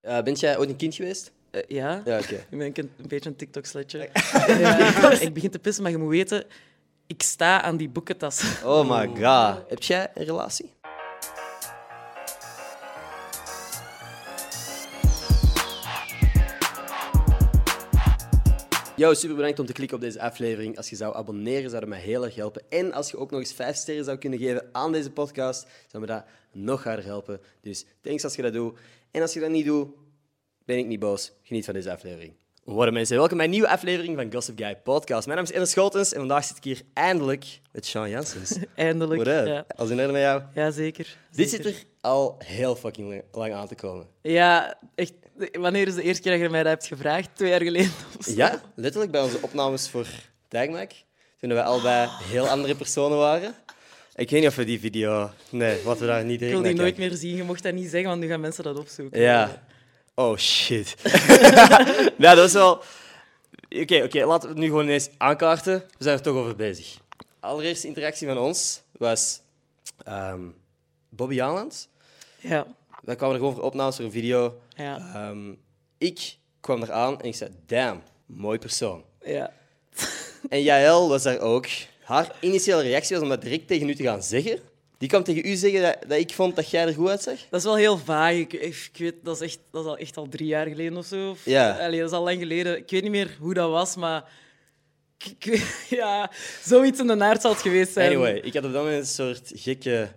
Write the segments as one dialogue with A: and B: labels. A: Eh, bent jij ooit een kind geweest?
B: Eh, ja?
A: Ja, oké.
B: Ik ben een, kind- een beetje een TikTok-sletje. Ik begin te pissen, maar je moet weten, ik sta aan die boekentas.
A: Oh my god. Heb jij een relatie? Yo, super bedankt om te klikken op deze aflevering. Als je zou abonneren, zou dat mij heel erg helpen. En als je ook nog eens 5 sterren zou kunnen geven aan deze podcast, zou me dat nog harder helpen. Dus thanks als je dat doet. En als je dat niet doet, ben ik niet boos. Geniet van deze aflevering. Hoi mensen, welkom bij een nieuwe aflevering van Gossip Guy Podcast. Mijn naam is Ellen Schotens en vandaag zit ik hier eindelijk met Sean Janssens.
B: Eindelijk.
A: What up?
B: Ja.
A: Als in orde met jou.
B: Ja, zeker.
A: Dit
B: Zeker.
A: zit er al heel fucking lang- lang aan te komen.
B: Ja, echt. Wanneer is de eerste keer dat je mij dat hebt gevraagd? Twee jaar geleden of zo?
A: Ja, letterlijk bij onze opnames voor Dijkmaak. Toen wij allebei
B: Ah.
A: heel andere personen waren. Ik weet niet of we die video... Nee, wat we daar niet
B: Ik
A: direct
B: wil die
A: naar
B: nooit
A: kijken.
B: meer zien. Je mocht dat niet zeggen, want nu gaan mensen dat opzoeken.
A: Ja. Oh, shit. nou, dat is wel... Oké, oké, laten we het nu gewoon ineens aankaarten. We zijn er toch over bezig. Allereerste interactie van ons was... ehm, Bobby Aanland.
B: Ja.
A: Wij kwamen er gewoon voor opnames voor een video.
B: Ja.
A: Ehm, ik kwam eraan en ik zei, damn, mooi persoon.
B: ja.
A: En Jaël was daar ook. Haar initiële reactie was om dat direct tegen u te gaan zeggen. Die kwam tegen u zeggen dat, dat ik vond dat jij er goed uitzag.
B: Dat is wel heel vaag. Ik, ik weet, dat is, echt, dat is al, echt al drie jaar geleden of zo. Of-
A: Ja.
B: Allee, dat is al lang geleden. Ik weet niet meer hoe dat was, maar... ik- ik weet- ja, zoiets in de naart zal het geweest zijn.
A: Anyway, ik had op dat moment een soort gekke,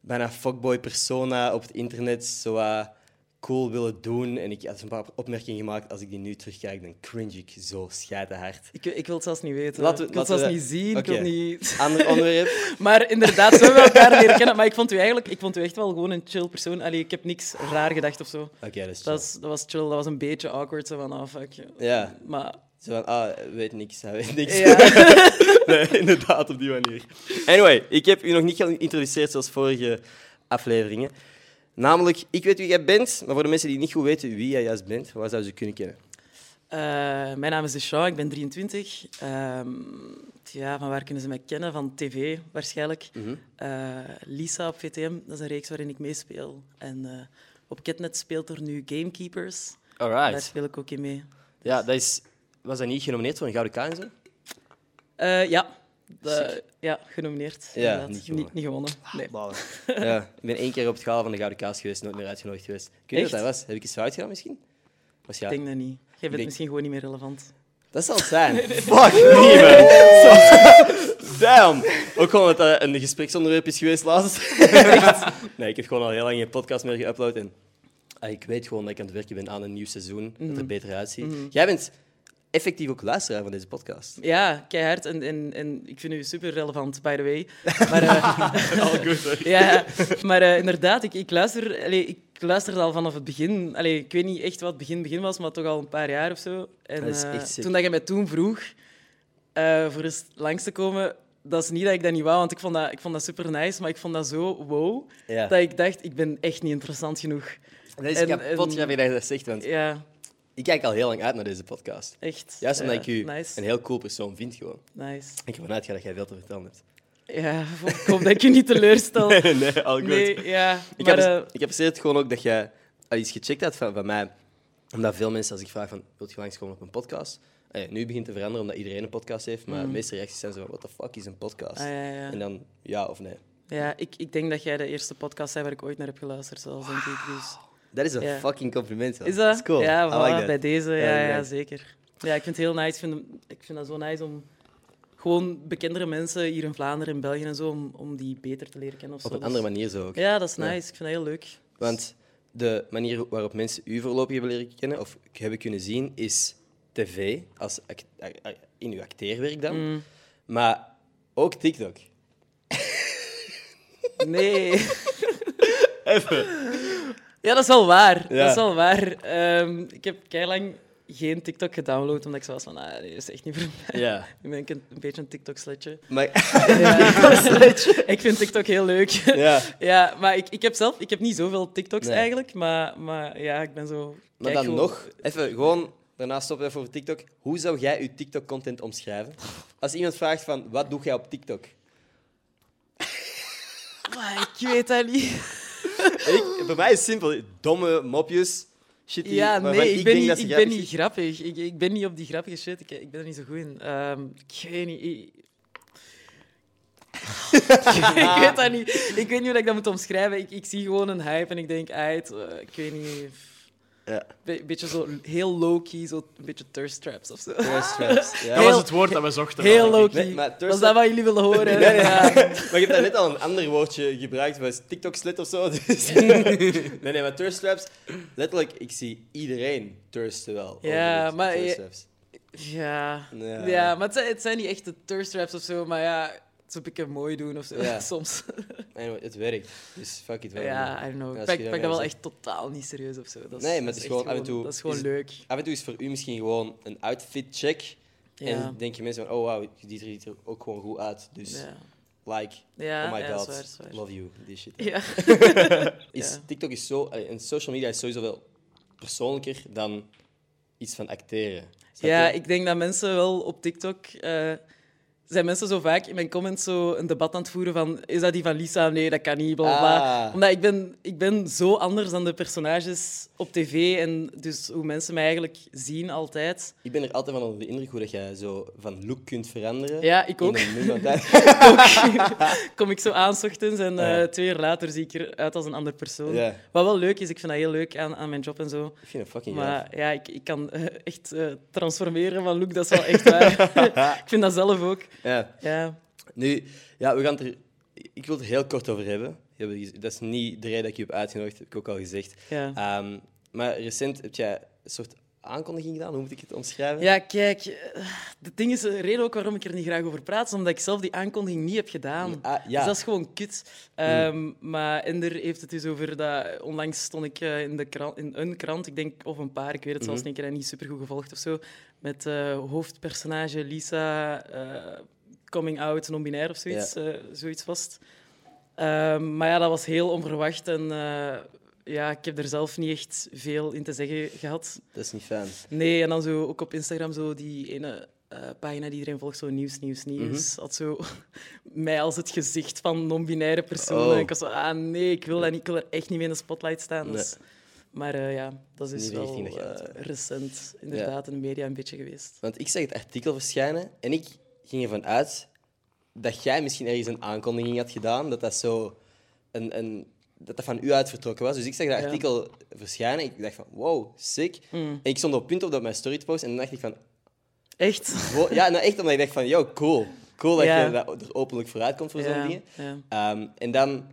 A: bijna fuckboy persona op het internet. Zo eh, cool willen doen. En ik had een paar opmerkingen gemaakt. Als ik die nu terugkijk, dan cringe ik zo schijtenhard.
B: Ik, ik wil het zelfs niet weten.
A: Laten we-
B: ik wil het
A: laten
B: zelfs
A: we-
B: niet zien. Ik
A: Oké.
B: wil niet...
A: Ander onderwerp.
B: Maar inderdaad, zo hebben we elkaar leren kennen. Maar ik vond u eigenlijk ik vond u echt wel gewoon een chill persoon. Allee, ik heb niks raar gedacht of zo.
A: Oké, dat is chill.
B: Dat, is, dat was chill. Dat was een beetje awkward. Zo van, ah, fuck.
A: Ja,
B: Maar
A: zo van, ah, hij weet niks, hij weet niks.
B: ja,
A: Nee, inderdaad, op die manier. Anyway, ik heb u nog niet geïntroduceerd zoals vorige afleveringen. Namelijk, ik weet wie jij bent, maar voor de mensen die niet goed weten wie jij juist bent, waar zouden ze kunnen kennen?
B: Eh, mijn naam is Deschamps, ik ben 23. Ehm, ja, van waar kunnen ze mij kennen? Van tv waarschijnlijk. Eh, Lisa op VTM, dat is een reeks waarin ik meespeel. En eh, op Ketnet speelt er nu Gamekeepers. Daar
A: Alright.
B: speel ik ook in mee.
A: Ja, dat is... Was dat niet genomineerd voor een Gouden K en zo?
B: Eh, ja, de- ja, genomineerd.
A: Ja,
B: inderdaad.
A: niet gewonnen.
B: Niet, niet gewonnen.
A: Ah,
B: Nee.
A: Ja, ik ben één keer op het gala van de Gouden Kaas geweest, nooit meer uitgenodigd geweest. Ik weet niet
B: Echt?
A: wat dat was. Heb ik iets fout gedaan misschien? Was ja.
B: Ik denk dat niet. Jij bent
A: denk-
B: misschien gewoon niet meer relevant.
A: Dat zal het zijn. Fuck me, man. Zo- Damn. Ook gewoon dat dat een gespreksonderwerp is geweest laatst. nee, ik heb gewoon al heel lang geen podcast meer geüpload. En ah, ik weet gewoon dat ik aan het werken ben aan een nieuw seizoen. Dat er beter uitziet. Jij bent effectief ook luisteraar van deze podcast.
B: Ja, keihard. En, en, en ik vind u super relevant, by the way. Maar, eh,
A: Al goed,
B: ja, maar eh, inderdaad, ik, ik luister... allee, ik luisterde al vanaf het begin. Allee, ik weet niet echt wat het begin begin was, maar toch al een paar jaar of zo. En
A: Dat is
B: eh,
A: echt sick.
B: toen dat je mij toen vroeg eh, voor eens langs te komen... Dat is niet dat ik dat niet wou, want ik vond dat, ik vond dat super nice, maar ik vond dat zo wow,
A: Ja.
B: dat ik dacht, ik ben echt niet interessant genoeg.
A: Deze
B: En-
A: kapot
B: en-
A: grappig dat je dat zegt, want
B: Ja,
A: ik kijk al heel lang uit naar deze podcast.
B: echt.
A: Juist omdat
B: Ja,
A: ik u
B: Nice,
A: een heel cool persoon vind gewoon.
B: nice.
A: Ik ervan uitga dat jij veel te vertellen hebt.
B: Ja, ik hoop dat ik je niet teleurstel. Nee,
A: Nee, nee, al goed.
B: ja.
A: Ik, heb,
B: maar,
A: dus-
B: eh,
A: ik heb het gewoon ook dat jij al iets gecheckt had van, van mij. Omdat veel mensen, als ik vraag van, wilt je langskomen op een podcast? Eh, nu begint het te veranderen omdat iedereen een podcast heeft, maar de meeste reacties zijn zo van, what the fuck is een podcast?
B: Mm. Ah, ja, ja.
A: En dan, ja of nee.
B: ja, ik, ik denk dat jij de eerste podcast bent waar ik ooit naar heb geluisterd, zelfs, denk ik. Dus.
A: Dat is een
B: Ja.
A: fucking compliment. man.
B: Is dat?
A: is cool.
B: Ja,
A: I
B: voilà,
A: like that.
B: bij deze.
A: Ja,
B: Ja, ja,
A: bedankt.
B: zeker. Ja, ik vind het heel nice. Ik vind, ik vind dat zo nice om gewoon bekendere mensen hier in Vlaanderen, in België en zo, om, om die beter te leren kennen. Of
A: Op
B: zo.
A: een andere
B: Dus-
A: manier zo ook.
B: Ja, dat is
A: Ja.
B: nice. Ik vind dat heel leuk.
A: Want de manier waarop mensen u voorlopig hebben leren kennen, of hebben kunnen zien, is tv, als act- a- a- in uw acteerwerk dan.
B: Mm.
A: Maar ook TikTok.
B: Nee. Ja, dat is wel waar.
A: Ja.
B: Dat is wel waar. Ehm, ik heb lang geen TikTok gedownload, omdat ik zo was van, ah, nee, dat is echt niet voor mij.
A: Ja.
B: Nu ben ik een, een beetje een TikTok-sletje.
A: Maar,
B: ik vind TikTok heel leuk. Ja,
A: ja.
B: maar ik, ik heb zelf ik heb niet zoveel TikToks
A: Nee.
B: eigenlijk, maar, maar ja, ik ben zo...
A: Maar
B: kijk
A: dan
B: gewoon-
A: nog, even gewoon, daarna stoppen we even voor TikTok. Hoe zou jij je TikTok-content omschrijven? Als iemand vraagt van, wat doe jij op TikTok?
B: Maar Oh, ik weet dat niet.
A: Ik, bij mij is het simpel, domme mopjes, shit die-
B: Ja,
A: waarvan
B: nee, ik, ben,
A: denk
B: niet,
A: dat ze
B: ik ben
A: grappig
B: niet grappig. Ik, ik ben niet op die grappige shit. Ik, ik ben er niet zo goed in. Ehm, ik weet niet. Ik, ik weet dat niet. Ik weet niet hoe ik dat moet omschrijven. Ik, ik zie gewoon een hype en ik denk, uit, eh, ik weet niet.
A: is. Ja.
B: Be- beetje zo heel low-key, zo een beetje thirst traps of zo.
A: Thirst traps. Ja.
B: Heel-
C: Dat was het woord dat we zochten.
B: Heel
A: Nee,
B: low-key.
A: maar thirst
B: Was
A: trap-
B: dat wat jullie wilden horen?
A: Nee, nee,
B: Ja.
A: Maar je hebt daar net al een ander woordje gebruikt, was TikTok-slit of zo. Dus. nee, nee, maar thirst traps, letterlijk, ik zie iedereen thirsten wel. over
B: Ja,
A: het
B: maar
A: thirst
B: je-
A: traps.
B: Ja.
A: Ja.
B: Ja. maar het zijn, het zijn niet echte thirst traps of zo, maar ja, ze pikken mooi doen of zo.
A: Ja.
B: Soms.
A: Anyway, het werkt, dus fuck it wel.
B: Ja, I don't know.
A: Ja, als
B: Ik
A: je
B: pak,
A: dat
B: pak
A: wel
B: dat wel
A: zegt.
B: echt totaal niet serieus of zo. Dat is,
A: Nee, maar
B: dat
A: het is
B: echt
A: gewoon af en toe
B: Dat is gewoon
A: is het-
B: leuk.
A: Af en toe is voor u misschien gewoon een outfit-check. En
B: Ja.
A: dan denken mensen van, oh wauw, die ziet er ook gewoon goed uit. Dus
B: ja.
A: like,
B: Ja,
A: oh my
B: ja,
A: god,
B: zwaar, zwaar.
A: love you, die shit.
B: Ja.
A: Is,
B: Ja.
A: TikTok is zo, eh, en social media is sowieso wel persoonlijker dan iets van acteren. Snap
B: ja,
A: je?
B: ik denk dat mensen wel op TikTok... eh, zijn mensen zo vaak in mijn comments zo een debat aan het voeren van is dat die van Lisa? Nee, dat kan niet, bla bla, bla.
A: Ah.
B: Omdat ik ben, ik ben zo anders dan de personages op tv en dus hoe mensen mij eigenlijk zien altijd.
A: Ik ben er altijd van onder de indruk hoe dat jij zo van look kunt veranderen.
B: Ja, ik ook.
A: In een nummer. Dat-
B: kom ik zo aan 's ochtends en
A: Ja.
B: eh, twee uur later zie ik eruit als een ander persoon.
A: Ja.
B: Wat wel leuk is, ik vind dat heel leuk aan, aan mijn job en zo.
A: ik vind het fucking gaaf.
B: Maar ja, ik, ik kan eh, echt eh, transformeren van look, dat is wel echt waar. ik vind dat zelf ook.
A: Ja.
B: Ja,
A: Nu, ja, we gaan het er... Ik wil het er heel kort over hebben. Je hebt het gez- Dat is niet de reden dat ik je heb uitgenodigd, heb ik ook al gezegd.
B: ja.
A: Ehm, maar recent heb jij een soort aankondiging gedaan, hoe moet ik het omschrijven?
B: ja kijk, eh, het ding is, de reden ook waarom ik er niet graag over praat, is omdat ik zelf die aankondiging niet heb gedaan.
A: Ah, ja.
B: Dus dat is gewoon kut. Ehm, Maar Ender heeft het dus over dat... Onlangs stond ik eh, in, de krant, in een krant, ik denk, of een paar, ik weet het zelfs niet, ik heb dat niet supergoed gevolgd of zo, met eh, hoofdpersonage Lisa, eh, coming out, non-binair of zoiets, eh, zoiets vast. Ehm, maar ja, dat was heel onverwacht en... eh, ja, ik heb er zelf niet echt veel in te zeggen gehad.
A: Dat is niet fijn.
B: Nee, en dan zo ook op Instagram zo die ene eh, pagina die iedereen volgt, zo nieuws, nieuws, nieuws.
A: Mhm.
B: Had zo mij als het gezicht van non-binaire personen.
A: Oh.
B: Ik was zo, ah nee, ik wil, dat niet, ik wil er echt niet mee in de spotlight staan. Dus. Maar eh, ja, dat is
A: Niet de
B: wel
A: richting dat je uit
B: eh,
A: wil.
B: recent inderdaad in de media een beetje geweest.
A: Want ik zag het artikel verschijnen en ik ging ervan uit dat jij misschien ergens een aankondiging had gedaan, dat dat zo een, een, dat dat van u uit vertrokken was. Dus ik zag dat
B: Ja. Hmm.
A: artikel verschijnen ik dacht van, wow, sick. En ik stond op punt om dat op mijn story te posten en dan dacht ik van,
B: Echt?
A: wow, ja, nou echt omdat ik dacht van, yo, cool. Cool dat
B: Ja.
A: je dat er openlijk vooruit komt voor zo'n
B: Ja,
A: dingen.
B: ja.
A: Ehm, en dan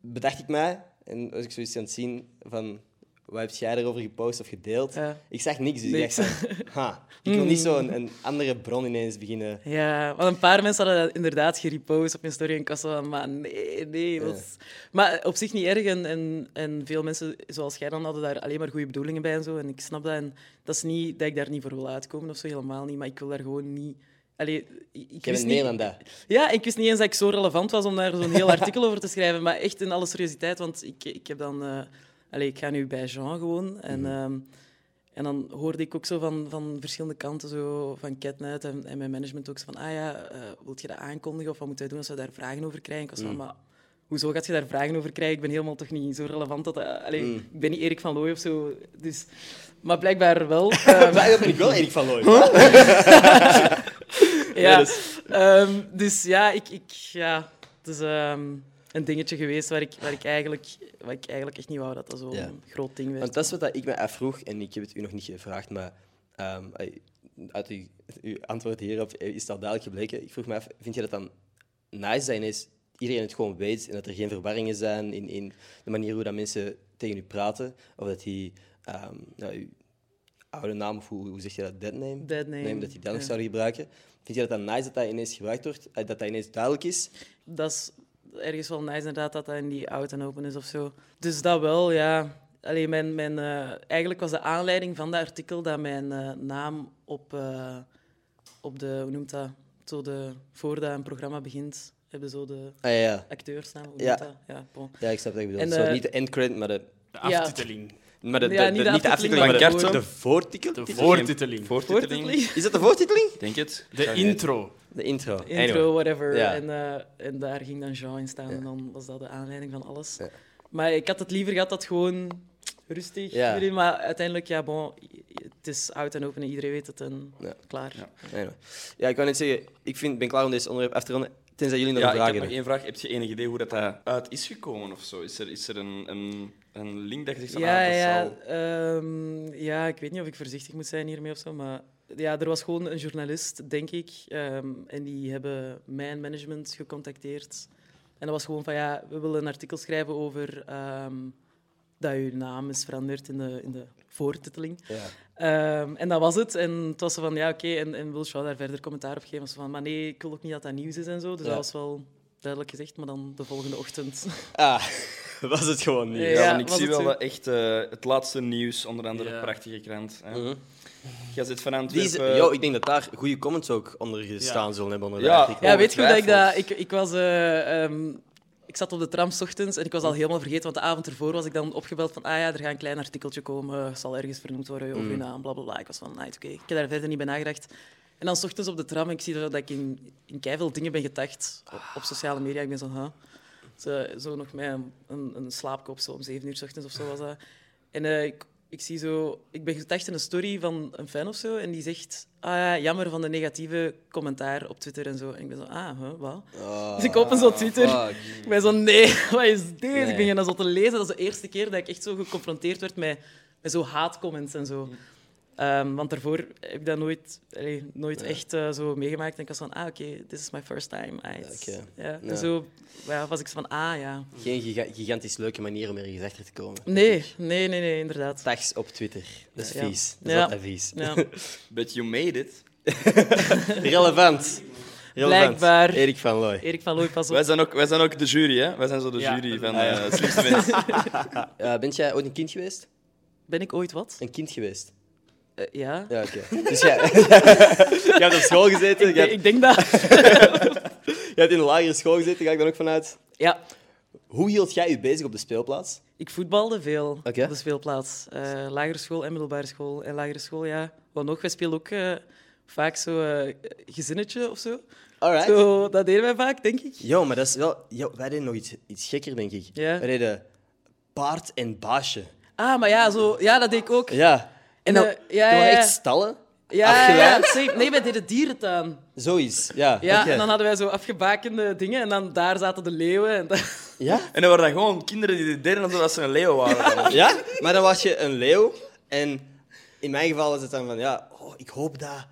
A: bedacht ik mij, en was ik zoiets aan het zien van, wat heb jij erover gepost of gedeeld?
B: Ja.
A: Ik zag niks, dus
B: Niks. Hmm.
A: ik dacht van, ha, ik wil niet zo'n een andere bron ineens beginnen.
B: Ja, want een paar mensen hadden dat inderdaad gerepost op mijn story en ik was zo van, maar nee, nee. dat is- Maar op zich niet erg en, en, en veel mensen zoals jij dan hadden daar alleen maar goede bedoelingen bij en zo. En ik snap dat en dat is niet dat ik daar niet voor wil uitkomen of zo, helemaal niet. Maar ik wil daar gewoon niet... Allee,
A: Jij
B: ik, ik wist
A: bent
B: niet...
A: Nederlander.
B: Ja, ik wist niet eens dat ik zo relevant was om daar zo'n heel artikel over te schrijven. Maar echt in alle seriositeit, want ik, ik heb dan... eh, allee, ik ga nu bij Jean gewoon. En, ehm, en dan hoorde ik ook zo van, van verschillende kanten, zo van Catnet en, en mijn management ook, zo van, ah ja, eh wilt je dat aankondigen of wat moeten wij doen als we daar vragen over krijgen? Ik was van, maar hoezo gaat je daar vragen over krijgen? Ik ben helemaal toch niet zo relevant dat... dat- allee, ik ben niet Erik van Looy of zo, dus... Maar blijkbaar wel. Ehm,
A: Maar dat ben ik wel Erik van Looy.
B: ja.
A: dat
B: Ehm, dus ja, ik, ik, ja, het is ehm, een dingetje geweest waar ik, waar, ik eigenlijk, waar ik eigenlijk echt niet wou dat dat zo'n
A: Ja.
B: groot ding werd.
A: Want dat is wat ik me afvroeg, en ik heb het u nog niet gevraagd, maar ehm, ai, uit uw, uw antwoord hierop is het al duidelijk gebleken. Ik vroeg me af, vind je dat dan nice dat ineens iedereen het gewoon weet en dat er geen verwarringen zijn in, in de manier hoe dat mensen tegen u praten? Of dat die, ehm, nou, uw oude naam, of hoe, hoe zeg je dat, dead name?
B: Dead name,
A: dat die dat nog
B: ja.
A: zouden gebruiken. Vind je dat dan nice dat dat ineens gebruikt wordt, eh, dat dat ineens duidelijk is?
B: Dat is ergens wel nice inderdaad dat dat in die out en open is of zo. Dus dat wel, ja. Alleen mijn, mijn, eh, eigenlijk was de aanleiding van dat artikel dat mijn eh, naam op, eh, op de, hoe noemt dat, zo de, voordat een programma begint, hebben zo de
A: Ah ja, ja,
B: acteursnaam, hoe
A: Ja.
B: noemt dat? Ja, bon.
A: ja ik snap wat je bedoelt.
B: En,
A: Zo,
B: eh,
A: niet de end credit, maar de...
C: De
B: Ja.
C: aftiteling.
A: Maar de,
B: Ja,
A: de-
B: niet
A: de-
B: de
A: niet de
B: aftiteling,
A: aftiteling, maar
B: maar
A: de,
B: de
A: de,
B: voor-
A: voortitel.
C: De
A: titel?
C: voortiteling.
B: Voortiteling.
A: Is dat de voortiteling?
D: Denk het?
C: De intro.
A: De intro.
B: intro, whatever.
A: Ja.
B: En, eh, en daar ging dan Jean in staan en dan was dat de aanleiding van alles. Maar ik had het liever gehad dat gewoon rustig.
A: Ja.
B: jullie, Maar uiteindelijk, ja, bon, i- i- het is oud en open en iedereen weet het en
A: Ja.
B: klaar.
C: Ja.
A: Anyway. Ja, ik kan net zeggen, ik vind, ben klaar om deze onderwerp af te ronden. Tenzij jullie nog
D: Ja, ik
A: vragen
D: heb nog
A: hebben.
D: één vraag. Heb je enig idee hoe dat daar uit is gekomen of zo? Is er, is er een, een, een link dat je zegt van
B: Ja,
D: ah, dat
B: ja,
D: zal...
B: ehm, ja, ik weet niet of ik voorzichtig moet zijn hiermee of zo, maar ja, er was gewoon een journalist, denk ik, ehm, en die hebben mijn management gecontacteerd. En dat was gewoon van, ja, we willen een artikel schrijven over ehm, dat uw naam is veranderd in de, in de voortiteling.
A: Ja.
B: Ehm, en dat was het. En het was zo van, ja, oké, en, en wil Shaw daar verder commentaar op geven? Ze van, maar nee, ik wil ook niet dat dat nieuws is en zo. Dus
A: Ja.
B: dat was wel duidelijk gezegd, maar dan de volgende ochtend.
A: Ah, was het gewoon niet.
B: Ja,
D: Ja, want ik
B: was
D: zie
B: het
D: wel
B: zo.
D: dat echt eh, het laatste nieuws, onder andere
C: Ja.
D: prachtige krant. Hè.
A: Mhm.
D: Jij zit van
A: Die is-
D: Antwerpen.
A: Yo, ik denk dat daar goede comments ook onder gestaan zullen hebben. Onder de
D: eh, Ja.
A: artikelen.
B: Ja, weet je hoe dat ik dat...
D: ongetwijfeld.
B: Ik, ik, was, eh, ehm, ik zat op de tram 's ochtends en ik was al helemaal vergeten, want de avond ervoor was ik dan opgebeld van ah ja, er gaat een klein artikeltje komen, het zal ergens vernoemd worden over uw naam, bla bla bla. Ik was van, right, oké, ik heb daar verder niet bij nagedacht. En dan 's ochtends op de tram, ik zie dat ik in, in keiveel dingen ben getagd op, op sociale media. Ik ben zo, huh? Zo, zo nog met een, een, een slaapkop, zo om zeven uur 's ochtends of zo was dat. En eh, ik, ik zie zo, ik ben getagd in een story van een fan of zo. En die zegt, ah ja, jammer van de negatieve commentaar op Twitter en zo. En ik ben zo, ah, huh, wat?
A: Ah,
B: Dus ik open zo Twitter.
A: fuck.
B: Ik ben zo, nee, wat is dit?
A: Nee.
B: Ik ben dat zo te lezen. Dat is de eerste keer dat ik echt zo geconfronteerd werd met, met zo haatcomments en zo. Ehm, want daarvoor heb ik dat nooit, allee, nooit echt eh, zo meegemaakt. En ik was van, ah, oké, this is my first time. Ah, it's-
A: Oké.
B: ja.
A: Ja.
B: En zo ja, was ik zo van, ah, ja.
A: Geen giga- gigantisch leuke manier om ergens achter te komen.
B: Nee, nee, nee, nee, inderdaad.
A: Tags op Twitter. Dat is
B: Ja.
A: vies. Dat is
B: Ja.
A: altijd vies.
B: Ja.
D: But you made it.
A: Relevant. Relevant.
B: Blijkbaar.
A: Erik van Looy.
B: Erik van Looy, pas op.
D: Wij zijn, ook, wij zijn ook de jury, hè? Wij zijn zo de
C: Ja,
D: jury
C: dat
D: van
C: is-
D: eh slimste mensen.
A: Eh, bent jij ooit een kind geweest?
B: Ben ik ooit wat?
A: Een kind geweest?
B: Eh, ja.
A: Ja, oké. Dus jij... jij hebt op school gezeten.
B: Ik,
A: Jij
B: denk-
A: hebt,
B: ik denk dat...
A: jij hebt in de lagere school gezeten, ga ik dan ook vanuit.
B: Ja,
A: Hoe hield jij je bezig op de speelplaats?
B: Ik voetbalde veel
A: Oké.
B: op de speelplaats. Eh, lagere school en middelbare school. En lagere school, ja. Wat nog? Wij speelden ook eh, vaak zo eh, gezinnetje of zo.
A: Alright.
B: zo. Dat deden wij vaak, denk ik.
A: Jo, maar dat is wel... Yo, wij deden nog iets, iets gekker, denk ik.
B: Ja.
A: Wij deden paard en baasje.
B: Ah, maar ja, zo, ja dat deed ik ook.
A: Ja. En dan,
B: Eh, ja,
A: er waren
B: ja, ja.
A: echt stallen.
B: Ja, ja, ja,
A: afgeleid?
B: zeker. Nee, wij deden dierentuin.
A: Zoiets. Ja.
B: Ja,
A: oké.
B: en dan hadden wij zo afgebakende dingen. En dan daar zaten de leeuwen. En dat-
A: ja?
D: En dan waren dat gewoon kinderen die dit deden alsof ze een leeuw waren.
A: Ja? Maar dan was je een leeuw. En in mijn geval was het dan van... Ja, oh, ik hoop dat...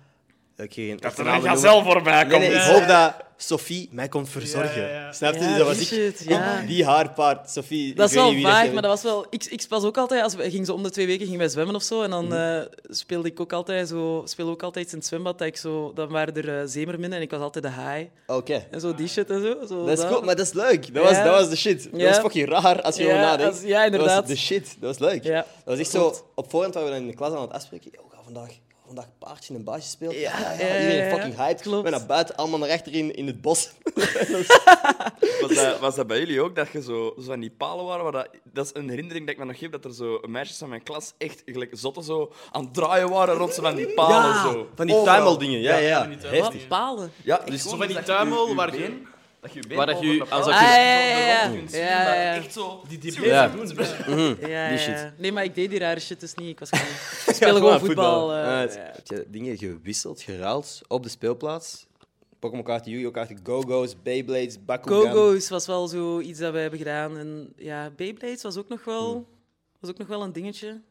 A: Ik geen
C: Dat er
A: achternaam
C: een
A: noemen.
C: gazel voorbij komt.
A: Nee, nee, ik
C: Ja.
A: hoop dat Sophie mij kon verzorgen.
C: eh, Ja, ja, ja.
A: Snap je?
B: Ja,
A: Dus dat was
B: die
A: ik.
B: shit,
A: ik-
B: ja.
A: Die haarpaard, Sophie.
B: Dat is
A: ik weet
B: wel
A: niet wie
B: vaag,
A: is.
B: maar dat was wel... Ik, ik was ook altijd... Als we, ging zo om de twee weken gingen wij zwemmen of zo. En
A: Mhm.
B: dan eh, speelde ik ook altijd, zo, speelde ook altijd iets in het zwembad. Dat ik zo, dan waren er eh, zeemerminnen en ik was altijd de haai.
A: Oké.
B: En zo die shit en zo. zo
A: Dat is cool, maar dat is leuk. Dat, was,
B: Ja.
A: dat was de shit. Dat
B: Ja.
A: was fucking raar als je
B: Ja,
A: erover nadenkt.
B: als- ja,
A: Dat was
B: inderdaad.
A: de shit. Dat was leuk.
B: Ja,
A: dat was echt
B: klopt.
A: zo... Op voorhand waren we dan in de klas aan het afspreken. Yo, we gaan vandaag, we gaan vandaag paardje en baasje spelen. Ja, ja,
B: ja,
A: Iedereen
B: ja, ja.
A: fucking hyped.
B: Klopt.
A: We naar buiten, allemaal naar achterin in het bos.
D: Was dat, was dat bij jullie ook, dat je zo, zo van die palen waren? Waar dat, dat is een herinnering dat ik me nog heb, dat er zo meisjes van mijn klas echt gelijk zotten zo aan het draaien waren rond zo van die palen. zo.
A: van die
D: Overal.
A: tuimeldingen. Ja, ja.
C: van die tuimel-
A: Heftig.
B: Wat? Palen?
D: Ja, dus
C: Zo
D: gewoon
C: van die
D: dat je
C: tuimel
D: je
C: waar
D: been-
C: geen-
D: Dat je je been
A: Waar dat je-
D: onder de
A: alsof
D: paal-
A: je-
B: Ah, ja,
D: zo
B: ja, ja.
D: rond kunt zien,
B: Ja,
D: maar
B: ja.
D: echt zo...
C: Die die
A: Ja.
B: Ja,
A: Die
B: ja, ja. Nee, maar ik deed die rare shit dus niet. Ik was gewoon... Ik
A: Ja,
B: speelde gewoon voetbal. eh,
A: Ah, het-
B: ja.
A: Heb je dingen gewisseld, geruild op de speelplaats? Pokémon kaarten, Yu-Gi-Oh kaarten, Go-Go's, Beyblades, Bakugan.
B: Go-Go's was wel zo iets dat we hebben gedaan. En ja, Beyblades was ook nog wel, was ook nog wel een dingetje.
A: Hmm.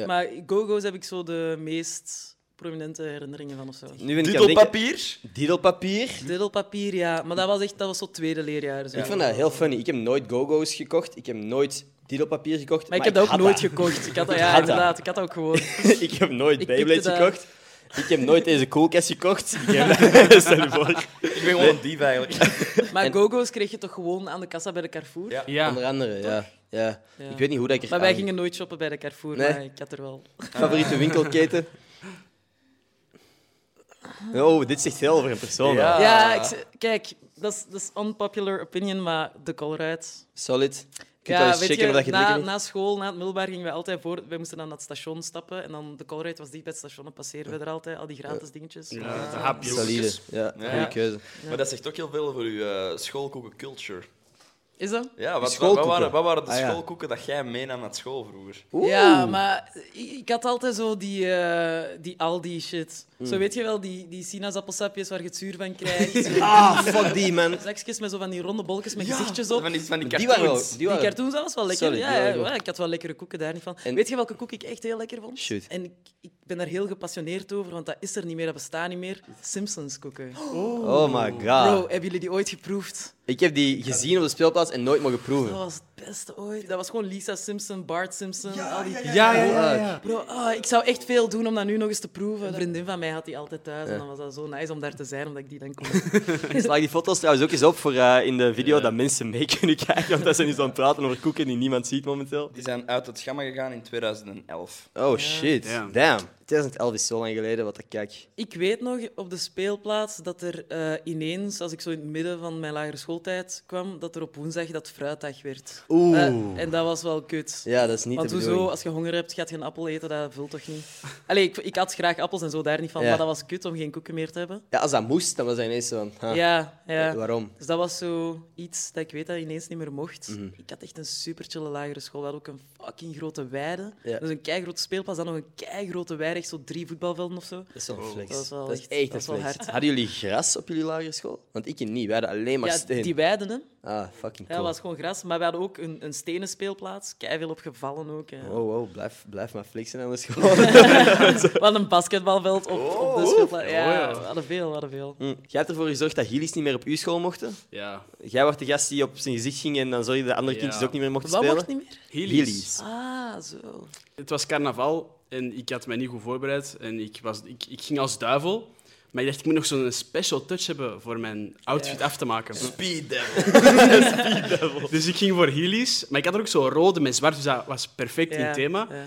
A: Ja.
B: Maar Go-Go's heb ik zo de meest prominente herinneringen van of zo.
A: Nu ben ik aan het denken-
D: Diddelpapier?
A: Diddelpapier.
B: Diddelpapier, ja. Maar dat was echt, dat was zo tweede leerjaar. Zo.
A: Ik vond dat heel funny. Ik heb nooit Go-Go's gekocht. Ik heb nooit diddelpapier gekocht.
B: Maar ik heb dat ook
A: had
B: nooit gekocht. Ik had dat,
A: Ik
B: ja,
A: had dat.
B: inderdaad. Ik had dat ook gewoon.
A: ik heb nooit
B: Ik
A: Beyblades
B: pikte dat.
A: gekocht. Ik heb nooit deze koelkast gekocht. Ik heb... Stel je voor.
D: Ik ben gewoon een dief eigenlijk.
B: Maar Go-Go's kreeg je toch gewoon aan de kassa bij de Carrefour?
D: Ja.
A: Onder andere, ja. ja.
B: Ja.
A: Ik weet niet hoe dat ik er
B: Maar wij
A: aan-
B: gingen nooit shoppen bij de Carrefour,
A: Nee.
B: maar ik had er wel.
A: Favoriete winkelketen? Oh, dit zegt veel over een persoon.
D: Ja.
A: hè.
D: Ah.
B: Ja, ik z- kijk, dat is- dat is unpopular opinion, maar de Colruyt.
A: Solid. Je kunt
B: Ja,
A: wel eens
B: weet
A: checken
B: je,
A: of dat je het
B: na,
A: lukt.
B: na school, na het middelbaar, gingen we altijd voor... Wij moesten dan naar het station stappen en dan de Colruyt was dicht bij het station. Dan passeerden we er altijd, al die gratis dingetjes.
C: Ja, Eh, de hapjes.
A: Solide. Ja,
D: Ja.
A: goede keuze.
D: Maar dat zegt ook heel veel voor uw eh, schoolkoken culture.
B: Is dat?
D: Ja, wat, wat, wat,
A: Schoolkoeken.
D: waren, wat waren de
A: Ah, ja.
D: schoolkoeken dat jij meenam naar school vroeger?
A: Oeh.
B: Ja, maar i- ik had altijd zo die, eh, die Aldi-shit.
A: Hmm.
B: Zo weet je wel, die, die sinaasappelsapjes waar je het zuur van krijgt. Zo
A: Ah, fuck die, man.
B: Zakjes met zo van die ronde bolletjes met gezichtjes op.
D: Van die, van die
A: Die waren wel...
D: cartoons.
B: Die
A: waren-
B: cartoons, dat was wel lekker.
A: Sorry,
B: ja,
A: die waren
B: ja,
A: goed.
B: ja, ik had wel lekkere koeken daar niet van.
A: En-
B: Weet je welke koek ik echt heel lekker vond?
A: Shoot.
B: En ik, ik ben daar heel gepassioneerd over, want dat is er niet meer, dat bestaat niet meer. Simpsons koeken.
A: Oh my
B: Bro,
A: god.
B: hebben jullie die ooit geproefd?
A: Ik heb die gezien op de speelplaats en nooit mogen
B: Dat
A: proeven.
B: was het beste ooit. Dat was gewoon Lisa Simpson, Bart Simpson. al die...
C: Ja, ja,
A: ja,
C: ja.
A: ja.
B: Bro, ah, ik zou echt veel doen om dat nu nog eens te proeven. Een vriendin van mij had die altijd thuis en dan was dat zo nice om daar te zijn, omdat ik die dan kon.
A: Sla die foto's trouwens ook eens op voor eh, in de video dat mensen mee kunnen kijken. Want dat zijn nu zo aan het praten over koeken die niemand ziet momenteel.
D: Die zijn uit het gamma gegaan in 2011.
A: Oh shit.
C: Ja.
A: Damn. 2011 is zo lang geleden wat ik kijk.
B: Ik weet nog op de speelplaats dat er eh, ineens, als ik zo in het midden van mijn lagere schooltijd kwam, dat er op woensdag dat fruitdag werd.
A: Oeh.
B: Eh, en dat was wel kut.
A: Ja, dat is niet
B: Want
A: de bedoeling.
B: hoezo, als je honger hebt, gaat je een appel eten, dat vult toch niet? Allee, ik, ik had graag appels en zo daar niet van,
A: Ja.
B: maar dat was kut om geen koeken meer te hebben.
A: Ja, als dat moest, dan was dat ineens zo van... ha,
B: Ja, ja.
A: eh, Waarom?
B: Dus dat was zo iets dat ik weet dat ineens niet meer mocht.
A: Mhm.
B: Ik had echt een super chille lagere school. We hadden ook een fucking grote weide.
A: Ja.
B: Dus een keigrote speelplaats, dan nog een keigrote weide, echt zo drie voetbalvelden of zo.
A: Dat is wel een flex.
B: Dat was wel
A: is
B: echt-
A: echt
B: dat
A: een
B: is wel
A: flex.
B: hard.
A: Oh. Hadden jullie gras op jullie lagere school? Want ik niet. Wij hadden alleen maar
B: ja,
A: steen.
B: die weiden, hè.
A: Ah, fucking
B: Ja,
A: cool.
B: dat was gewoon gras. Maar we hadden ook een, een stenen speelplaats. Keiveel op gevallen ook. hè.
C: Oh.
A: Wow, Oh, wow, blijf, blijf maar flexen aan de school.
B: We hadden een basketbalveld op, op de speelplaats. Ja,
C: Oh, ja.
B: we hadden veel, we hadden veel.
A: Hm. Jij hebt ervoor gezorgd dat Gillies niet meer op uw school mochten.
C: ja.
A: Jij was de gast die op zijn gezicht ging en dan zorgde dat andere
C: Ja.
A: kindjes ook niet meer mochten
B: Wat
A: spelen.
B: mocht niet meer?
C: Heelys.
B: Ah, zo.
C: Het was carnaval en ik had mij niet goed voorbereid. En ik, was, ik, ik ging als duivel. Maar ik dacht, ik moet nog zo'n special touch hebben voor mijn outfit af te maken.
D: Speed Devil.
C: Dus ik ging voor Heelys. Maar ik had er ook zo'n rode met zwart, dus dat was perfect in
B: Ja,
C: het thema.
B: ja.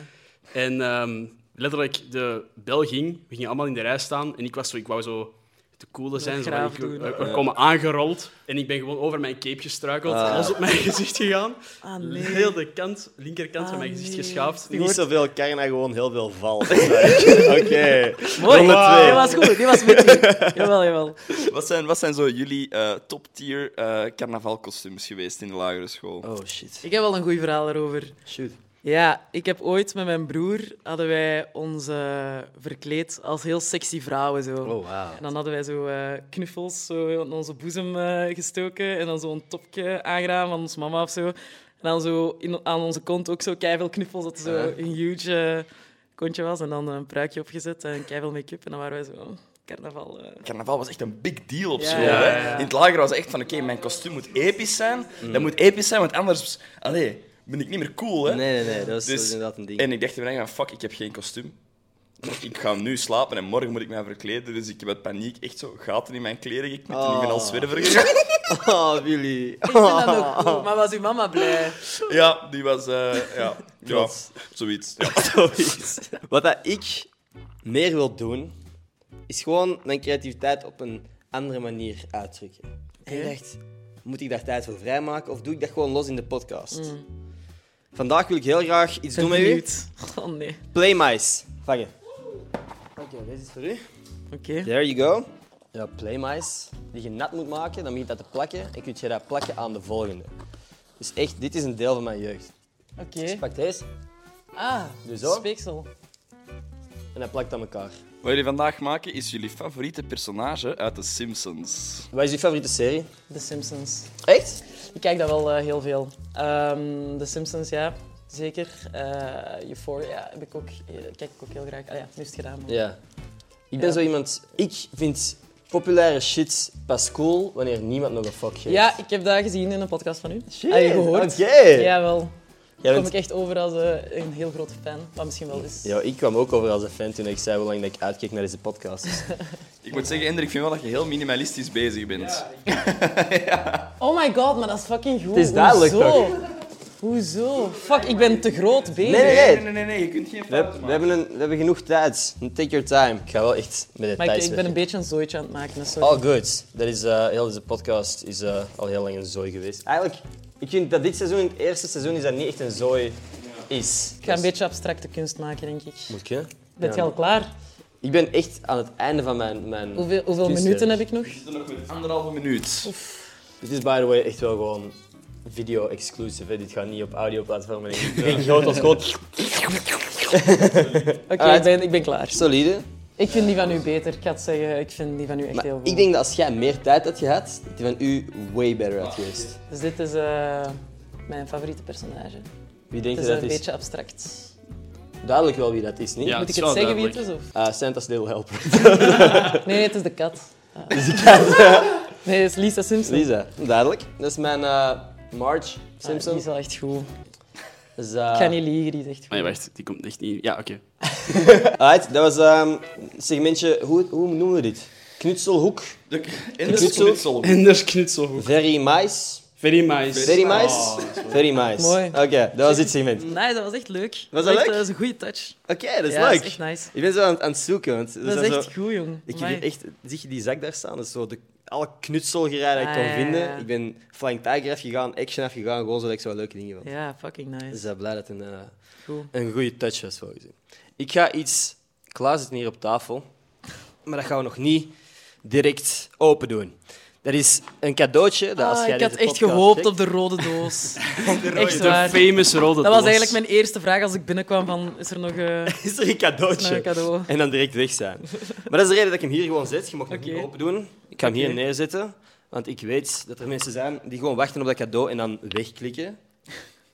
C: En ehm, letterlijk, de bel ging. We gingen allemaal in de rij staan. En ik, was zo, ik wou zo de coole zijn. Zo, maar
B: graaf
C: ik,
B: doen.
C: we komen aangerold. En ik ben gewoon over mijn cape gestruikeld. Alles op mijn gezicht gegaan.
B: Ah, nee.
C: Heel de kant, linkerkant van mijn
B: Ah,
C: gezicht
B: nee.
C: geschaafd.
A: Niet zoveel karna, gewoon heel veel val. Oké.
B: Mooi.
A: Ronde twee.
B: Die was goed, die was met u. Jawel, jawel.
D: Wat zijn, wat zijn zo jullie eh, top-tier eh carnavalkostuums geweest in de lagere school?
A: Oh shit.
B: Ik heb wel een goed verhaal erover.
A: Shoot.
B: Ja, ik heb ooit met mijn broer hadden wij ons eh, verkleed als heel sexy vrouwen zo.
A: Oh wow.
B: En dan hadden wij zo eh, knuffels zo in onze boezem eh, gestoken en dan zo'n topje aangedaan van ons mama of zo. En dan zo in, aan onze kont ook zo keiveel knuffels, dat het zo
A: Eh.
B: een huge eh, kontje was. En dan een pruikje opgezet en keiveel make-up. En dan waren wij zo, oh, carnaval. eh.
D: Carnaval was echt een big deal op
B: Ja,
D: school.
B: ja,
D: hè.
C: ja, ja.
D: In het lager was het echt van, oké, mijn kostuum moet episch zijn. Dat moet episch zijn, want anders allee, ben ik niet meer cool. Hè?
A: Nee, nee, nee, dat is, dat is
D: Dus-
A: inderdaad een ding.
D: En ik dacht in mijn eigen, fuck, ik heb geen kostuum. Ik ga nu slapen en morgen moet ik mij verkleden. Dus ik heb uit paniek echt zo gaten in mijn kleren geknipt en ik ben al
A: Oh.
D: zwerver gegaan.
A: Oh, Willy.
B: Ik vind dat ook cool, Oh. maar was uw mama blij?
D: Ja, die was... eh, ja, ja,
A: Trots.
D: zoiets. Ja.
A: Zoiets. Wat dat ik meer wil doen, is gewoon mijn creativiteit op een andere manier uitdrukken. En ik dacht, moet ik daar tijd voor vrijmaken of doe ik dat gewoon los in de podcast? Vandaag wil ik heel graag iets doen met u.
B: Benieuwd. Oh nee.
A: Playmice. Vangen. Oké, deze is voor u.
B: Oké.
A: There you go. Ja, playmice. Die je nat moet maken, dan begint dat te plakken. En kun je dat plakken aan de volgende. Dus echt, dit is een deel van mijn jeugd.
B: Oké.
A: Dus pak deze
B: Ah,
A: Doe zo.
B: speeksel.
A: en dat plakt aan elkaar.
D: Wat jullie vandaag maken is jullie favoriete personage uit The Simpsons.
A: Wat is je favoriete serie?
B: The Simpsons.
A: Echt?
B: Ik kijk dat wel eh, heel veel. Ehm The Simpsons, ja. Zeker. Eh Euphoria heb ik ook, eh, kijk ik ook heel graag. Ah ja, nu is het gedaan. maar-
A: Ja. Ik ben
B: Ja.
A: zo iemand... Ik vind populaire shit pas cool wanneer niemand nog een fuck geeft.
B: Ja, ik heb dat gezien in een podcast van u.
A: Shit,
B: Ah, je gehoord?
A: Oké.
B: Jawel.
A: Jij
B: Daar
A: bent-
B: kom ik echt over als eh, een heel grote fan. Wat misschien wel is.
A: Ja, ik kwam ook over als een fan toen ik zei hoe lang dat ik uitkeek naar deze podcast. Dus
D: Ik moet zeggen, Hendrik, ik vind wel dat je heel minimalistisch bezig bent.
B: Oh my god, maar dat is fucking goed.
A: Het is duidelijk
B: Hoezo? Hoezo? Fuck, ik ben te groot bezig.
A: Nee, nee, nee.
D: nee, nee, nee, je kunt geen
A: we, hebben-
D: fouten
A: we, hebben
D: maken.
A: een, we hebben genoeg tijd. Take your time. Ik ga wel echt met de
B: Maar
A: tijd
B: ik, ik ben een beetje een zooitje aan het maken. dus sorry.
A: All good. Dat is, eh, heel deze podcast is eh, al heel lang een zooi geweest. Eigenlijk, ik vind dat dit seizoen, het eerste seizoen, is dat niet echt een zooi is.
B: Ik ga een beetje abstracte kunst maken, denk ik.
A: Dus Moet je?
B: Ben je
A: Ja.
B: al klaar?
A: Ik ben echt aan het einde van mijn... mijn
B: Hoeveel, hoeveel
A: kunstwerk.
B: minuten heb ik nog?
D: We zitten nog met anderhalve minuut.
A: Dit is by the way echt wel gewoon video-exclusive. hè. Dit gaat niet op audio-platformen. Ik denk groot als groot.
B: Oké,
A: Ah,
B: ik, ben, ik ben klaar.
A: Solide.
B: Ik vind die van u beter. Ik ga het zeggen, ik vind die van u echt
A: Maar
B: heel goed.
A: ik denk dat als jij meer tijd had gehad, dat die van u way better had geweest.
B: Dus dit is eh, mijn favoriete personage.
A: Wie
B: Het
A: denk je
B: is
A: dat
B: een
A: is?
B: beetje abstract.
A: Duidelijk wel wie dat is, niet?
C: Ja,
B: Moet ik
C: is
B: Ah, het
C: wel
B: zeggen wie het is?
C: duidelijk.
B: Of?
A: Eh, Santa's Little Helper.
B: Nee, nee, het is de kat. Ah. nee, het is Lisa Simpson.
A: Lisa, duidelijk. Dat is mijn eh, Marge
B: Ah,
A: Simpson.
B: die is wel echt goed.
A: Dat is, eh,
B: Ik ga niet liegen, die is echt goed.
C: Maar wacht, die komt echt niet. Ja, oké.
A: Alright, dat was ehm segmentje, hoe, hoe noemen we dit? Knutselhoek,
D: De
A: Knutsel.
D: knutsel.
C: Enders knutselhoek.
A: very mice,
C: Very nice. Oh,
A: very mice, very mice.
B: Mooi.
A: Oké, dat was dit segment.
B: Nee, dat was echt leuk.
A: Was dat
B: echt,
A: leuk?
B: eh, Dat is een goede touch.
A: Oké, dat is
B: ja,
A: leuk. Dus
B: dat is echt nice.
A: Ik ben zo aan, aan het zoeken, want er
B: Dat is
A: zijn
B: echt
A: zo-
B: goed, jong.
A: ik heb
B: Amai.
A: hier echt, zie je die zak daar staan? Dat is zo de, alle knutselgerij dat ik
B: Ah,
A: kon
B: ja,
A: vinden.
B: ja.
A: Ik ben Flying Tiger afgegaan, Action afgegaan, gewoon zodat ik zo leuke dingen vond.
B: Ja, fucking nice.
A: Dus ik ben blij dat het een, eh,
B: Cool.
A: een goede touch was volgens mij. Ik ga iets klaarzetten hier op tafel, maar dat gaan we nog niet direct open doen. Dat is een cadeautje. Dat als
B: Ah,
A: jij
B: ik had
A: deze
B: echt
A: podcast
B: gehoopt
A: checkt-
B: op de rode doos.
C: De,
B: Echt waar.
C: famous rode
B: Dat was eigenlijk mijn eerste vraag als ik binnenkwam: van, is er nog, eh, is
A: is er een
B: er nog
A: cadeautje.
B: een cadeau?
A: En dan direct weg zijn. Maar dat is de reden dat ik hem hier gewoon zet. Je mag hem
B: Oké.
A: niet open doen. Ik ga hem hier
B: Oké.
A: neerzetten. Want ik weet dat er mensen zijn die gewoon wachten op dat cadeau en dan wegklikken.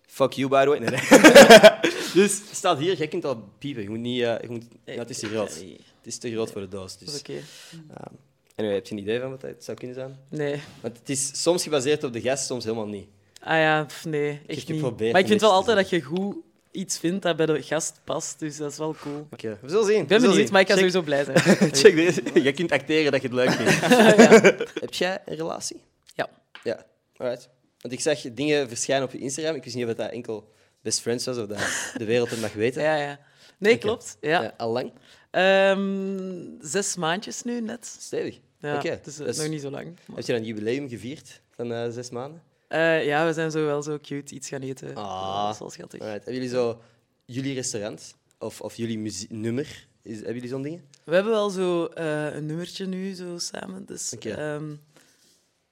A: Fuck you, by the way. Nee, nee. dus het staat hier. Jij kunt al piepen. Je moet niet... eh, je moet... Ja, het is te groot.
B: Nee,
A: Het is te groot voor de doos.
B: Dat
A: Dus.
B: is oké.
A: Anyway, heb je een idee van wat het zou kunnen zijn?
B: Nee.
A: Want het is soms gebaseerd op de gast, soms helemaal niet.
B: Ah ja, pff, nee, echt niet.
A: geprobeerd
B: Maar ik
A: niks
B: vind wel
A: te
B: altijd dat je goed iets vindt dat bij de gast past, dus dat is wel cool.
A: Oké, we zullen zien.
B: Ik ben benieuwd, maar ik ga
A: Check-
B: sowieso blij zijn.
A: Check deze. Jij kunt acteren dat je het leuk vindt. Heb jij een relatie?
B: Ja.
A: Ja, alright. Want ik zag dingen verschijnen op je Instagram. Ik wist niet of dat enkel best friends was of dat de wereld het mag weten.
B: Ja, ja. Nee,
A: Oké.
B: klopt. Ja.
A: Ja, al lang.
B: Ehm, zes maandjes nu net.
A: Stevig.
B: Ja,
A: Oké,
B: dus eh,
A: dus-
B: nog niet zo lang. maar-
A: Heb je dan een jubileum gevierd van eh, zes maanden?
B: Eh, ja, we zijn zo wel zo cute iets gaan eten.
A: Ah.
B: Dat is wel schattig.
A: Alright. Hebben jullie zo jullie restaurant of, of jullie muzie- nummer? Is, hebben jullie zo'n dingen?
B: We hebben wel zo eh, een nummertje nu zo samen. Dus,
A: Oké.
B: ehm,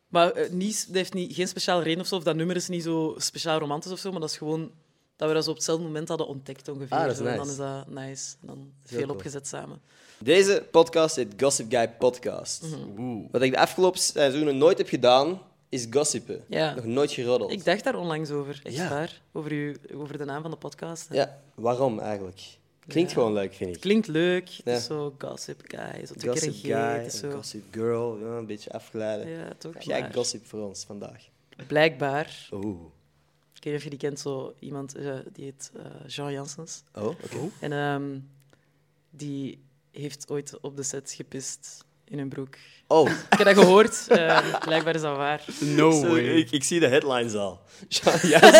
B: maar eh, niet, dat heeft niet, geen speciale reden of zo. Of dat nummer is niet zo speciaal romantisch of zo. Maar dat is gewoon dat we dat zo op hetzelfde moment hadden ontdekt ongeveer.
A: Ah, dat is
B: zo. En dan
A: nice.
B: is dat nice. En dan
A: heel
B: veel
A: cool.
B: opgezet samen.
A: Deze podcast heet Gossip Guy Podcast.
B: Mhm.
A: Wat ik de afgelopen seizoenen nooit heb gedaan, is gossipen.
B: Ja.
A: Nog nooit geroddeld.
B: Ik dacht daar onlangs over. Echt
A: Ja.
B: waar. Over, uw, over de naam van de podcast.
A: Ja, waarom eigenlijk? Klinkt
B: Ja.
A: gewoon leuk, vind ik.
B: Klinkt leuk. Het
A: Ja.
B: is zo gossip guy. Zo twee
A: Gossip
B: keer een G.
A: guy,
B: Het is zo...
A: gossip girl, ja, een beetje afgeleiden.
B: Ja, toch.
A: Heb jij
B: maar
A: gossip voor ons vandaag?
B: Blijkbaar.
A: Oeh.
B: Ik weet niet of je die kent, zo iemand eh, die heet eh, Jean Janssens.
A: Oh, oké.
B: En ehm, die heeft ooit op de set gepist in een broek.
A: Oh,
B: Ik heb dat gehoord. ehm, blijkbaar is dat waar.
C: No
A: zo,
C: way.
A: ik, ik zie de headlines al. Ja,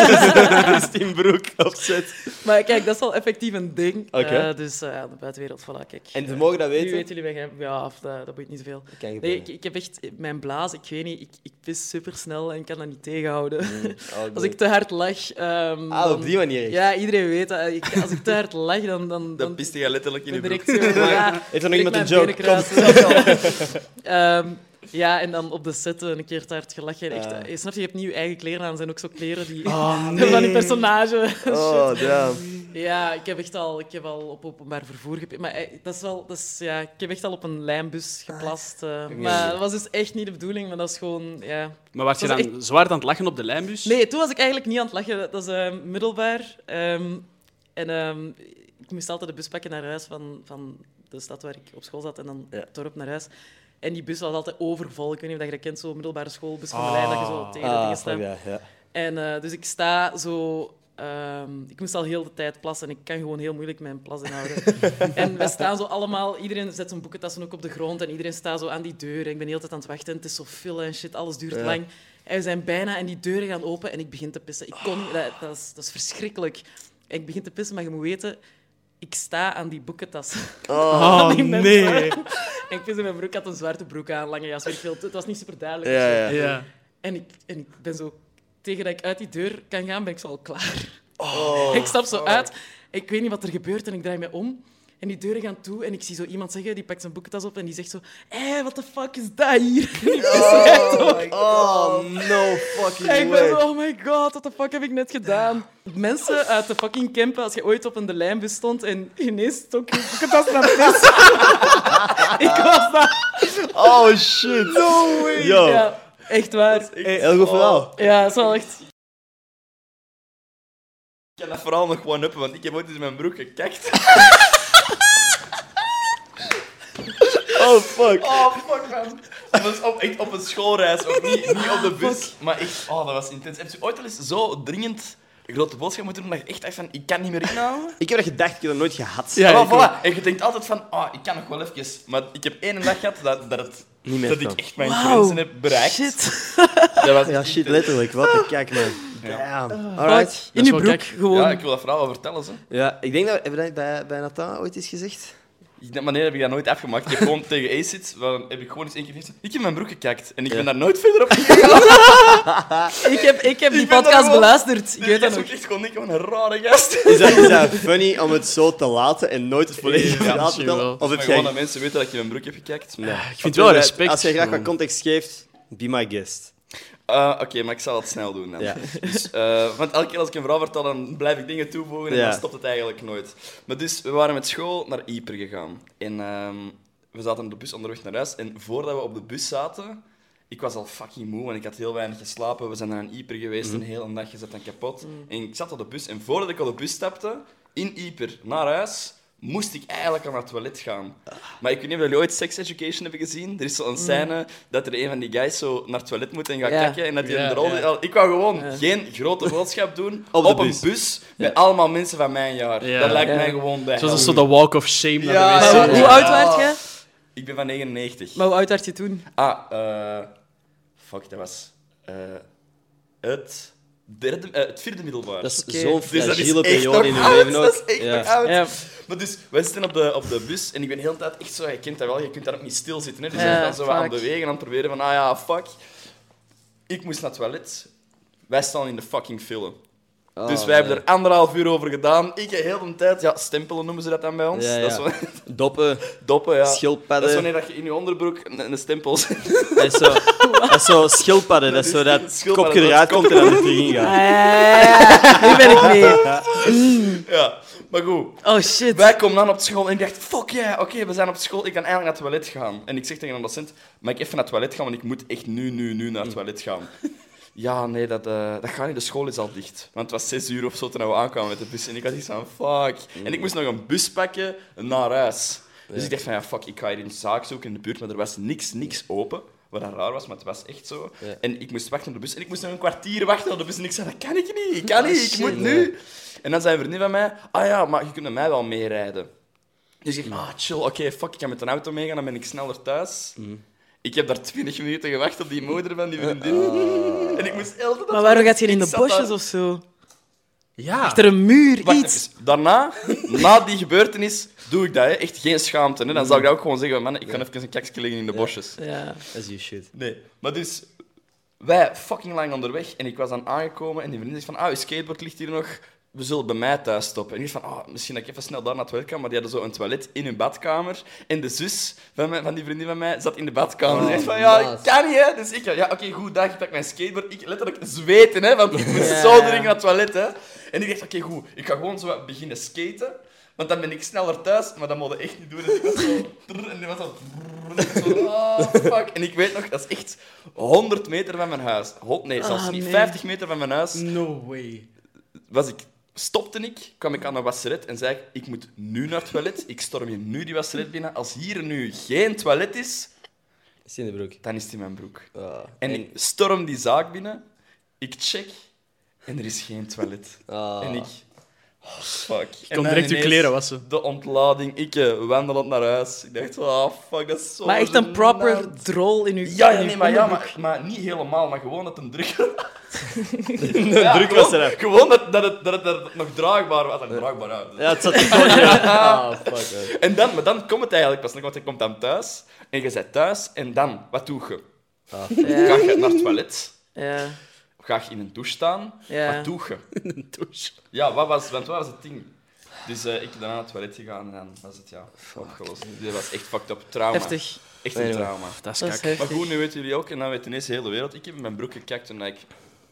A: ze is in broek opzet.
B: Maar kijk, dat is wel effectief een ding.
A: Oké.
B: Eh, dus eh, aan de buitenwereld, voilà, kijk.
A: En ze mogen dat
B: nu
A: weten?
B: weten jullie weg. Ja, of eh, dat, dat boeit niet zoveel.
A: Dat kan
B: Nee,
A: gebeuren.
B: ik, ik heb echt mijn blaas, ik weet niet, ik, ik pis supersnel en ik kan dat niet tegenhouden.
A: Oh,
B: Als
A: boy.
B: ik te hard lach... ehm,
A: Ah, op
B: dan-
A: die manier echt.
B: Ja, iedereen weet dat. Ik- als ik te hard lach, dan... dan,
D: Dan
B: dan
D: piste je letterlijk in je
B: ben
D: broek.
B: direct zo... Ja,
A: Heeft er nog iemand een joke? Kom.
B: Ehm, ja, en dan op de set eh, een keer te hard gelachen. Echt,
A: Ah.
B: eh, Snap je, je hebt nieuwe eigen kleren aan. Er zijn ook zo kleren die...
C: Ah,
B: Van die personage.
A: Oh, damn.
B: Ja, ik heb echt al, ik heb al op openbaar vervoer gepist. Maar eh, dat is wel, dat is, ja, ik heb echt al op een lijnbus geplast. eh, maar dat was dus echt niet de bedoeling, maar dat is gewoon, ja.
C: Maar was je
B: Dat
C: dan
B: is
C: zwaar aan het lachen op de lijnbus?
A: Dus-
B: Nee, toen was ik eigenlijk niet aan het lachen. Dat is eh, middelbaar. Ehm, en ehm, ik moest altijd de bus pakken naar huis van, van de stad waar ik op school zat en dan
A: Ja.
B: het dorp naar huis. En die bus was altijd overvol. Ik weet niet of dat je dat kent, zo'n middelbare schoolbus van de
C: Ah.
B: lijn, dat je zo tegen de
A: Ah,
B: dingen
A: fuck
B: staat.
A: ja, ja.
B: En eh, dus ik sta zo. ehm, ik moest al heel de tijd plassen en ik kan gewoon heel moeilijk mijn plas inhouden. en we staan zo allemaal, iedereen zet zijn boekentassen ook op de grond en iedereen staat zo aan die deur. En ik ben de hele tijd aan het wachten, het is zo file en shit, alles duurt
A: Ja.
B: lang. En we zijn bijna en die deuren gaan open en ik begin te pissen. Ik kon niet, dat, dat, is, dat is verschrikkelijk. En ik begin te pissen, maar je moet weten, ik sta aan die boekentassen.
C: Oh,
B: Die mensen.
C: nee.
B: en ik pis in mijn broek, ik had een zwarte broek aan, lange jas, weet ik veel. Het was niet super duidelijk.
A: Ja, ja.
C: Ja.
B: En ik, en ik ben zo... Tegen dat ik uit die deur kan gaan, ben ik zo al klaar. ik stap zo uit. Ik weet niet wat er gebeurt en ik draai me om. En die deuren gaan toe en ik zie zo iemand zeggen, die pakt zijn boekentas op en die zegt zo... Hé, hey, what the fuck is dat hier? En ik was echt ook-
A: Oh, no fucking
B: en ik ben zo,
A: way.
B: oh my god, what the fuck heb ik net gedaan? Mensen uit de fucking Kempen, als je ooit op een de lijn stond en ineens stok je boekentas naar beneden. ik was daar.
A: Oh, shit. No way. Yo,
B: Ja, echt waar.
A: hey, heel goed verhaal.
B: Ja, dat is wel echt...
D: Ik kan dat vooral nog one uppen, want ik heb ooit eens in mijn broek gekakt.
A: Oh, fuck.
D: Oh, fuck man. Dat was op, echt op een schoolreis, ook niet, niet op de bus. Maar echt, oh, dat was intens. Heb je ooit al eens zo dringend een grote boodschap moeten doen dat je echt dacht van, ik kan niet meer inhouden?
A: Ik heb dat gedacht, ik heb dat nooit gehad.
C: Ja.
D: Voilà,
C: ik
D: voilà. En je denkt altijd van, ah, ik kan nog wel even. Maar ik heb één dag gehad dat, dat, het,
A: Niet meer
D: dat
A: kan.
D: ik echt mijn grenzen heb bereikt.
B: Shit.
D: Dat was
A: Ja,
D: echt
A: shit,
D: intens.
A: letterlijk. Wat een kijk, man. Damn. Alright.
B: In je
C: wel
B: broek,
C: kijk.
B: gewoon.
D: Ja, ik wil dat verhaal wel vertellen. Zo.
A: Ja, ik denk dat... Hebben we dat bij, bij Nathan ooit iets gezegd?
D: Ik denk, maar nee, heb ik dat nooit afgemaakt. Ik heb gewoon tegen ACID, dan heb ik gewoon eens één keer gezegd, ik heb mijn broek gekakt. En ik ben daar nooit verder op gegaan.
B: Ik heb, ik heb die
D: ben daar
B: podcast
D: gewoon-
B: beluisterd. Ik
D: Ik
B: weet dat
D: was
B: nog.
D: ook echt gewoon denken van een rare gast.
A: Is dat, is dat funny om het zo te laten en nooit het volledige
C: Ja,
A: verhaal te
C: misschien wel.
A: vertellen? Of
D: Maar
A: heb
D: gewoon dat
A: jij...
D: mensen weten dat je mijn broek hebt gekakt. Nee.
C: Ik vind wel respect.
A: Als jij graag wat
C: man.
A: context geeft, be my guest.
D: Eh, Oké, maar ik zal het snel doen dan.
A: Ja.
D: Dus, eh, want elke keer als ik een verhaal vertel, dan blijf ik dingen toevoegen en
A: Ja.
D: dan stopt het eigenlijk nooit. Maar dus, we waren met school naar Yper gegaan. En ehm, we zaten op de bus onderweg naar huis. En voordat we op de bus zaten, ik was al fucking moe en ik had heel weinig geslapen. We zijn naar een Yper geweest,
C: Mhm.
D: een hele dag gezet en kapot. En ik zat op de bus en voordat ik op de bus stapte, in Yper naar huis, moest ik eigenlijk aan het toilet gaan. Maar ik weet niet of jullie ooit Sex Education hebben gezien. Er is zo'n scène dat er een van die guys zo naar het toilet moet en gaat
B: Ja.
D: kakken. En dat die
C: Ja,
D: een rol...
C: ja.
D: Wel, Ik wou gewoon geen grote boodschap doen op,
A: de
D: een
A: bus.
D: bus met allemaal mensen van mijn jaar.
C: Ja.
D: Dat lijkt
B: Ja.
D: mij gewoon de
C: Zoals
D: hel.
C: dat zo de walk of shame
D: Ja.
C: naar de
B: Maar
C: wc.
B: hoe, hoe
D: Ja.
B: oud werd jij?
D: Ik ben van 99.
B: Maar hoe oud werd je toen?
D: Ah, eh, fuck, dat was eh, het, derde, eh, het vierde middelbaar.
A: Dat is
B: Oké.
A: zo'n
D: Dus dat is
A: fragiele
D: echt
A: periode
D: nog
A: in je
D: oud,
A: leven
D: Dat
A: ook.
D: is echt
A: Ja.
D: nog oud.
B: Ja.
D: Maar dus, wij zitten op de, op de bus en ik ben de hele tijd echt zo... Je kent dat wel, je kunt daar ook niet stilzitten. Hè? Dus
B: Ja,
D: ik ben zo wat aan het
B: vaak.
D: bewegen, aan het proberen van... Ah ja, fuck. Ik moest naar het toilet. Wij staan in de fucking file.
A: Oh,
D: dus wij hebben er anderhalf uur over gedaan. Ik heb heel de tijd... Ja, stempelen noemen ze dat dan bij ons.
A: Ja,
D: Dat is
A: ja.
D: wel-
A: Doppen,
D: doppen, ja.
A: Schildpadden.
D: Dat is wanneer dat je in je onderbroek een, een stempel zet.
A: dat is zo, dat is zo schildpadden, dat is zo dat het
D: Schildpadden,
A: kopje
D: dat
A: eruit komt en dan het erin
B: Ah,
A: gaat.
D: Eh.
B: nu ben ik mee.
D: Ja, maar goed.
B: Oh shit.
D: Wij komen dan op school en ik dacht, fuck yeah, oké, we zijn op school, ik kan eigenlijk naar het toilet gaan. En ik zeg tegen een docent, mag ik even naar het toilet gaan, want ik moet echt nu, nu, nu naar het toilet gaan. Ja, nee, dat, eh, dat gaat niet, de school is al dicht. Want het was zes uur of zo toen we aankwamen met de bus. En ik had iets van, fuck. En ik moest nog een bus pakken naar huis. Dus ik dacht van, ja, fuck, ik ga hier een zaak zoeken in de buurt, maar er was niks, niks open. Wat dat raar was, maar het was echt zo.
A: Ja.
D: En ik moest wachten op de bus. En ik moest nog een kwartier wachten op de bus. En ik zei, dat kan ik niet, ik kan niet, ik
A: Ah, shit.
D: moet nu. En dan zei een vriendin van mij, ah ja, maar je kunt met mij wel meerijden. Dus ik zeg, ah chill, oké, fuck, ik ga met een auto meegaan, dan ben ik sneller thuis.
B: Mm.
D: Ik heb daar 20 minuten gewacht op die moeder van
B: Eh,
D: die vriendin.
B: ah.
D: En ik moest elke dag...
B: Maar waarom gaat je in
D: Ik
B: de
D: zat
B: bosjes
D: daar-
B: of zo?
C: Ja.
B: Achter een muur,
D: Wacht
B: iets.
D: even. Dus Daarna, na die gebeurtenis, doe ik dat. Hè. Echt geen schaamte. Hè. Dan zou ik dat ook gewoon zeggen, man, ik kan even een kakje liggen in de bosjes.
B: Ja.
A: Dat is je shit.
D: Nee, maar dus... Wij fucking lang onderweg en ik was dan aangekomen en die vriendin zegt van, ah, je skateboard ligt hier nog, we zullen bij mij thuis stoppen. En ik dacht van, ah, misschien dat ik even snel daar naar het toilet kan, maar die hadden zo een toilet in hun badkamer. En de zus van, mijn, van die vriendin van mij zat in de badkamer. en zegt van, ja, ik
A: maat.
D: kan niet, hè. Dus ik, ja, oké, goed, dag, ik pak mijn skateboard. Ik letterlijk zweten, hè, want ik moest
B: Ja.
D: zo dringend naar het toilet, hè. En ik dacht, oké, goed, ik ga gewoon zo wat beginnen skaten. Want dan ben ik sneller thuis, maar dat moet je echt niet doen. Dus ik was zo... trrr, En die was zo... trrr, En ik zo, ah, fuck. En ik weet nog, dat is echt 100 meter van mijn huis. Hond, nee, zelfs
B: Ah,
D: niet.
B: nee.
D: 50 meter van mijn huis
C: No way.
D: was ik... Stopte ik, kwam ik aan een wasseret en zei ik, ik moet nu naar het toilet. Ik storm hier nu die wasseret binnen. Als hier nu geen toilet is,
A: Is in de broek.
D: dan is het in mijn broek.
A: Ah.
D: En ik storm die zaak binnen, ik check en er is geen toilet.
A: Ah.
D: En ik. Oh, fuck. Ik
C: kon direct uw kleren wassen.
D: De ontlading, ik eh, wandelend naar huis. Ik dacht, ah fuck, dat is zo.
B: Maar echt een
D: gênant.
B: proper drol in je
D: Ja,
B: in
D: ja,
B: uw
D: nee, maar, ja
B: onderbroek.
D: maar, maar niet helemaal, maar gewoon dat een druk Een
A: druk was eraf.
D: Gewoon dat, dat, het, dat, het, dat het nog draagbaar was. Dat het draagbaar uit.
A: Ja, het zat er gewoon in. Ah, fuck. man.
D: En dan, maar dan komt het eigenlijk pas nog, want je komt dan thuis. En je bent thuis, en dan, wat doe je?
A: Ah.
D: Ga je naar het toilet?
B: Ja.
D: Ga je in een douche staan?
B: Ja.
D: Wat doe je?
C: Douche.
D: Ja, wat was, want wat was het ding? Dus eh, ik ben daarna naar het toilet gegaan en dan was het ja, opgelost. Dit was echt fucked up. Trauma.
B: Heftig.
D: Echt een
A: Nee, nee.
D: trauma.
C: Dat is
B: Dat is
C: kak.
D: Maar
B: heftig.
D: goed, nu weten jullie ook, en dan weet ineens heel de wereld, ik heb in mijn broek gekakt toen ik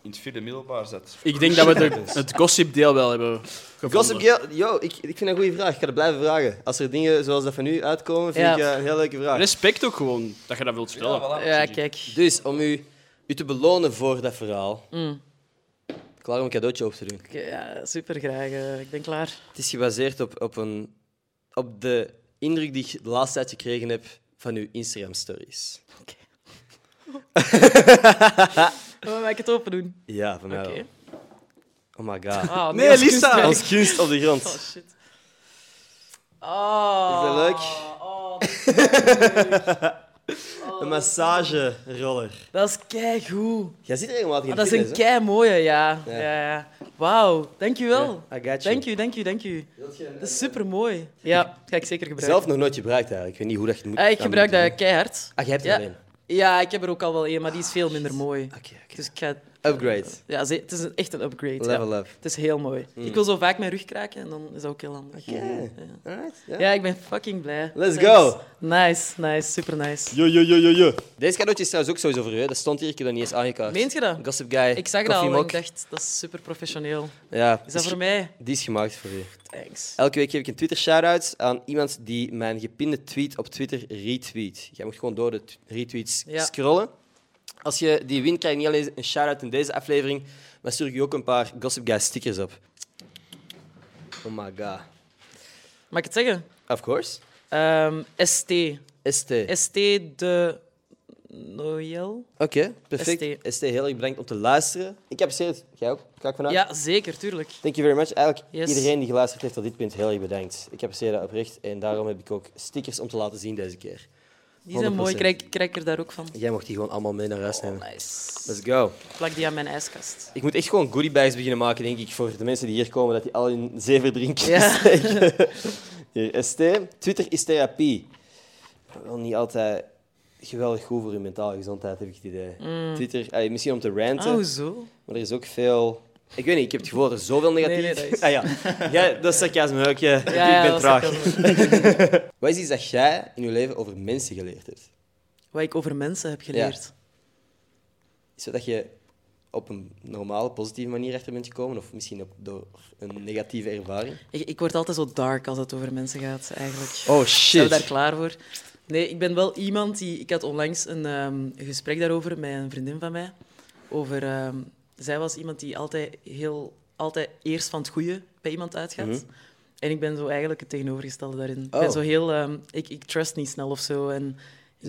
D: in het vierde middelbaar zat.
C: Ik denk dat we de, het gossipdeel wel hebben gevonden.
A: Gossip Girl, yo, ik, ik vind dat een goede vraag. Ik ga dat blijven vragen. Als er dingen zoals dat van u uitkomen, vind
B: Ja.
A: ik eh, een heel leuke vraag.
C: Respect ook gewoon, dat je dat wilt vertellen.
D: voilà.
B: Ja,
D: Gigi.
B: kijk.
A: Dus om u, u te belonen voor dat verhaal,
B: Mm.
A: klaar om een cadeautje op te doen.
B: Ik, eh, Ja, super graag. eh. ik ben klaar.
A: Het is gebaseerd op, op, een, op de indruk die ik de laatste tijd gekregen heb van uw Instagram-stories.
B: Oh, mag ik het open doen?
A: Ja, van mij
B: Oké.
A: wel. Oh my god.
B: Ah,
C: Nee,
B: als
C: Lisa!
B: kunstwerk.
A: Als kunst op de grond.
B: Oh, shit. Oh.
A: Is dat leuk?
B: Oh, dat is leuk.
A: Een massageroller.
B: Dat is keigoed.
A: Jij zit er regelmatig in
B: Ah, dat is
A: de
B: een
A: fitness,
B: kei mooie, ja.
A: Ja.
B: ja. ja. Wauw, dankjewel.
A: hè? I got you.
B: Dank u, dank u, dank u. Dat is super mooi. Ja, dat ga ik zeker gebruiken.
A: Zelf nog nooit gebruikt eigenlijk. Ik weet niet hoe dat je het moet.
B: Eh, ik
A: aan
B: gebruik
A: moet doen.
B: dat keihard.
A: Ah, jij hebt er
B: Ja.
A: alleen.
B: Ja, ik heb er ook al wel één, maar die is veel minder mooi.
A: Oké, oké.
B: Dus ik ga...
A: Upgrade.
B: Ja, ze- het is een- echt een upgrade. ja.
A: Level up. Hmm.
B: Het is heel mooi. Ik wil zo vaak mijn rug kraken en dan is dat ook heel handig.
A: Oké. Alright, ja.
B: Ja, ik ben fucking blij.
A: Let's go.
B: Nice, nice, super nice.
A: Yo, yo, yo, yo, yo. Deze cadeautje is trouwens ook sowieso voor u. hè. Dat stond hier, ik heb dat niet eens aangekaart.
B: Meent je dat?
A: Gossip Guy,
B: Ik zag dat al en
A: koffiemok.
B: ik dacht, dat is super professioneel.
A: Ja,
B: Is dat voor mij?
A: die is gemaakt voor u.
B: Thanks.
A: Elke week geef ik een Twitter shout-out aan iemand die mijn gepinde tweet op Twitter retweet. Jij moet gewoon door de t- retweets
B: Ja.
A: scrollen. Als je die wint, krijg je niet alleen een shout-out in deze aflevering, maar stuur ik je ook een paar Gossip Guy stickers op. Oh my god.
B: Mag ik het zeggen?
A: Of course.
B: Ehm, ST.
A: ST.
B: ST de Noël?
A: Oké, perfect. ST. heel erg bedankt om te luisteren. Ik apprecieer het. Jij ook? Ga ik vanuit?
B: Ja, zeker, tuurlijk.
A: Thank you very much. Eigenlijk
B: Yes.
A: iedereen die geluisterd heeft tot dit punt, heel erg bedankt. Ik apprecieer dat oprecht en daarom heb ik ook stickers om te laten zien deze keer.
B: Die zijn mooi,
A: 100%.
B: krijg, ik- krijg ik er daar ook van.
A: Jij mocht die gewoon allemaal mee naar huis nemen.
B: Oh, Nice.
A: Let's go.
B: Plak die aan mijn ijskast.
A: Ik moet echt gewoon goodiebags beginnen maken, denk ik, voor de mensen die hier komen, dat die al hun zeven drinken
B: Ja.
A: steken. Hier, ST. Twitter is therapie. Maar Wel niet altijd geweldig goed voor je mentale gezondheid, heb ik het idee. Twitter, eh, misschien om te ranten,
B: Mm. Oh, zo.
A: maar er is ook veel... Ik weet niet, ik heb het gevoel dat er zoveel negatief...
B: Nee, nee, dat is-
A: Ah, ja. ja, dat is sarcasme ook. Ja. ik ben
B: dat
A: traag.
B: is sarcasme.
A: Wat is iets dat jij in je leven over mensen geleerd hebt?
B: Wat ik over mensen heb geleerd.
A: Is dat dat je op een normale, positieve manier achter bent gekomen? Of misschien op, door een negatieve ervaring?
B: Ik, ik word altijd zo dark als het over mensen gaat, eigenlijk.
A: Oh,
B: Zijn we daar klaar voor? Nee, ik ben wel iemand die... Ik had onlangs een ehm, gesprek daarover met een vriendin van mij. Over... ehm, zij was iemand die altijd heel... Altijd eerst van het goede bij iemand uitgaat. En ik ben zo eigenlijk het tegenovergestelde daarin. Ik
A: Oh.
B: ben zo heel... ehm, ik, ik trust niet snel of zo. En ik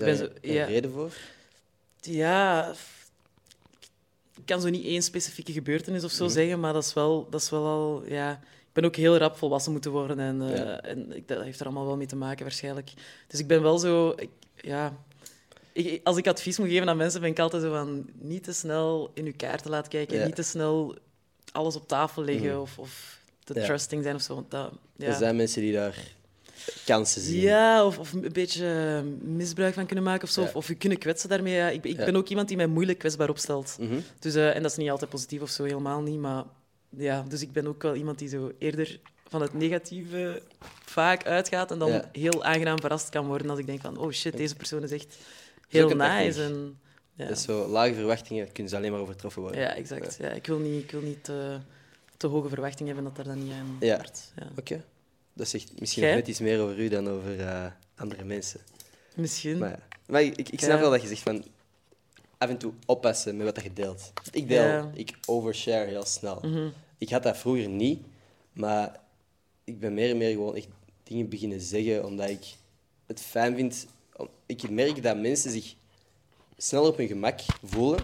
A: Is
B: ben
A: daar
B: zo...
A: een
B: Ja,
A: reden voor?
B: ja... f- Ik kan zo niet één specifieke gebeurtenis of zo
A: Mhm.
B: zeggen, maar dat is wel, dat is wel al... Ja, ik ben ook heel rap volwassen moeten worden en, eh,
A: Ja.
B: en ik, dat heeft er allemaal wel mee te maken waarschijnlijk. Dus ik ben wel zo... Ik, ja... Ik, als ik advies moet geven aan mensen, ben ik altijd zo van... Niet te snel in uw kaarten laten kijken,
A: Ja.
B: niet te snel alles op tafel leggen
A: Mhm.
B: of, of te
A: Ja. Dus
B: trusting zijn of zo. Want dat, ja.
A: Er zijn mensen die daar kansen zien.
B: Ja, of, of een beetje eh, misbruik van kunnen maken of zo.
A: Ja.
B: Of, of je kunnen kwetsen daarmee. Ja. Ik, ik
A: Ja.
B: ben ook iemand die mij moeilijk kwetsbaar opstelt.
A: Mhm.
B: Dus, eh, en dat is niet altijd positief of zo, helemaal niet. Maar ja, dus ik ben ook wel iemand die zo eerder van het negatieve vaak uitgaat. En dan
A: Ja.
B: heel aangenaam verrast kan worden als ik denk van... Oh shit, deze persoon is echt
A: is
B: heel
A: ook een
B: nice.
A: techniek.
B: En, ja.
A: Dus zo, lage verwachtingen kunnen ze alleen maar overtroffen worden.
B: ja, exact. Ja, ik wil niet, ik wil niet te, te hoge verwachtingen hebben dat daar dan niet aan
A: Ja.
B: wordt. Ja.
A: Oké. Dat zegt misschien
B: Jij?
A: nog net iets meer over u dan over eh, andere mensen.
B: Misschien.
A: Maar, maar ik, ik snap
B: Ja.
A: wel dat je zegt van af en toe oppassen met wat dat je deelt. Ik deel,
B: Ja. Mhm.
A: ik overshare heel snel. Ik had dat vroeger niet, maar ik ben meer en meer gewoon echt dingen beginnen zeggen omdat ik het fijn vind. om- Ik merk dat mensen zich sneller op hun gemak voelen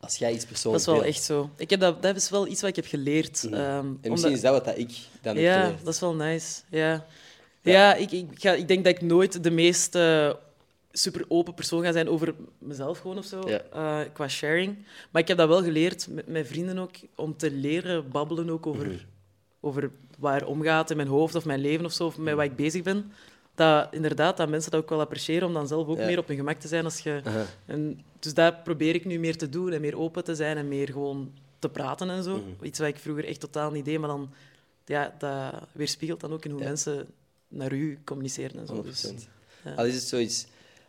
A: als jij iets
B: Mhm. Dat
A: persoonlijk
B: is wel
A: deelt.
B: echt zo. Ik heb dat, dat is wel iets wat ik heb geleerd. ehm,
A: Mhm. En
B: omdat-
A: misschien is dat wat dat ik dan heb
B: Ja,
A: geleerd.
B: dat is wel nice. Ja, ja ik, ik, ga, ik denk dat ik nooit de meest eh, super open persoon ga zijn over mezelf gewoon of zo,
A: Ja.
B: eh, qua sharing. Maar ik heb dat wel geleerd met mijn vrienden ook, om te leren babbelen ook over,
A: Mhm.
B: over waar omgaat in mijn hoofd of mijn leven of zo, of
A: Mhm.
B: met waar ik bezig ben. Dat, inderdaad, dat mensen dat ook wel appreciëren, om dan zelf ook
A: Ja.
B: meer op hun gemak te zijn. Als je,
A: Aha.
B: en, dus dat probeer ik nu meer te doen en meer open te zijn en meer gewoon te praten en zo. Iets wat ik vroeger echt totaal niet deed, maar dan ja, dat weerspiegelt dan ook in hoe mensen naar u communiceren en zo.
A: 100%.
B: Dus, ja.
A: Al is het zoiets...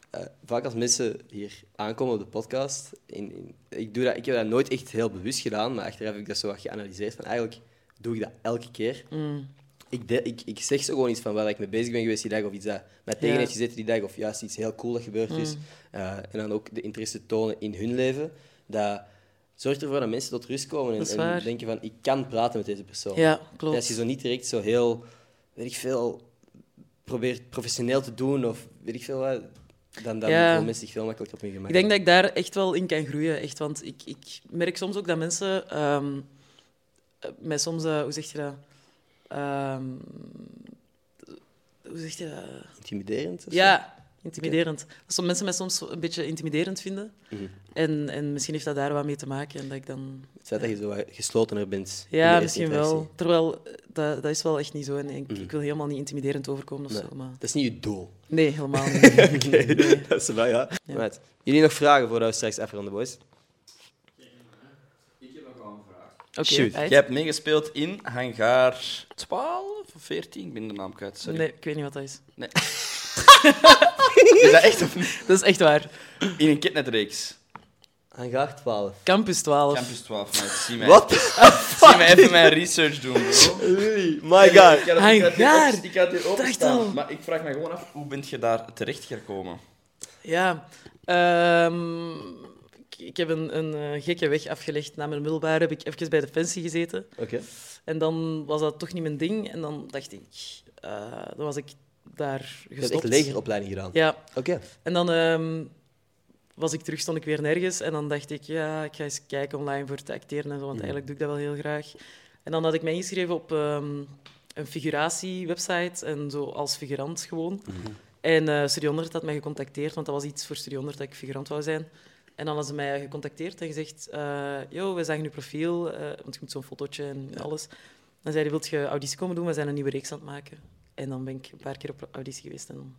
A: eh, vaak als mensen hier aankomen op de podcast... In, in- ik, doe dat, ik heb dat nooit echt heel bewust gedaan, maar achteraf heb ik dat zo wat geanalyseerd. Van eigenlijk doe ik dat elke keer.
B: Mm.
A: Ik, de- ik, ik zeg zo gewoon iets van waar ik mee bezig ben geweest die dag, of iets dat mij tegen
B: Ja. Mm.
A: heeft gezeten die dag, of juist iets heel cool dat gebeurd is. Eh, en dan ook de interesse tonen in hun leven. Dat zorgt ervoor dat mensen tot rust komen en,
B: Dat is
A: en
B: waar.
A: denken van, ik kan praten met deze persoon.
B: ja,
A: Ja, Als
B: klopt.
A: je zo niet direct zo heel, weet ik veel, probeert professioneel te doen of weet ik veel wat, dan, dan
B: Ja.
A: voelen mensen zich veel makkelijker op hun gemak.
B: Ik denk dat ik daar echt wel in kan groeien. Echt, want ik, ik merk soms ook dat mensen ehm, eh, mij soms, eh, hoe zeg je dat? Ehm, hoe zeg je dat?
A: Intimiderend? of zo?
B: Ja, intimiderend. Sommige mensen mij soms een beetje intimiderend vinden.
A: Mhm.
B: En, en misschien heeft dat daar wat mee te maken. En dat ik dan...
A: Het feit dat je zo wat geslotener bent. in de
B: Ja,
A: eerste
B: misschien
A: interactie.
B: wel. Terwijl, eh, dat, dat is wel echt niet zo. En ik, ik wil helemaal niet intimiderend overkomen of
A: Mhm. Nee.
B: zo. Maar...
A: Dat is niet je doel.
B: Nee, helemaal niet.
A: dat is wel, ja. Right. Jullie nog vragen voordat we straks afronden, boys?
B: Oké,
A: Shoot.
B: uit.
D: Jij hebt meegespeeld in hangar 12 of 14? Ik ben de naam kwijt, sorry.
B: Nee, ik weet niet wat dat is.
D: Is dat echt of niet?
B: Dat is echt waar.
D: In een kitnetreeks.
A: Hangaar 12.
B: Campus 12.
D: Campus 12, mate. Zie mij,
A: What
B: Ah,
D: zie mij even mijn research doen, bro.
A: Really? My god.
D: Ik
B: Oh
D: had,
B: Hangar.
D: ik had hier op- ik had hier
B: al.
D: openstaan, maar ik vraag me gewoon af, hoe bent je daar terecht gekomen?
B: Ja, ehm, ik, ik heb een, een eh, gekke weg afgelegd. Na mijn middelbare heb ik even bij Defensie gezeten.
A: Oké.
B: En dan was dat toch niet mijn ding. En dan dacht ik, eh, dan was ik daar
A: Je hebt
B: gestopt.
A: echt legeropleiding gedaan.
B: Ja,
A: Oké.
B: en dan ehm, was ik terug, stond ik weer nergens. En dan dacht ik, ja, ik ga eens kijken online voor te acteren en zo, want eigenlijk doe ik dat wel heel graag. En dan had ik mij ingeschreven op ehm, een figuratiewebsite en zo als figurant gewoon.
A: Mhm.
B: En eh Studio 100 had mij gecontacteerd, want dat was iets voor Studio 100 dat ik figurant wou zijn. En dan hadden ze mij gecontacteerd en gezegd, eh yo, we zagen je profiel, eh, want je moet zo'n fotootje en alles. Dan zei hij, wilt je auditie komen doen? We zijn een nieuwe reeks aan het maken. En dan ben ik een paar keer op auditie geweest en dan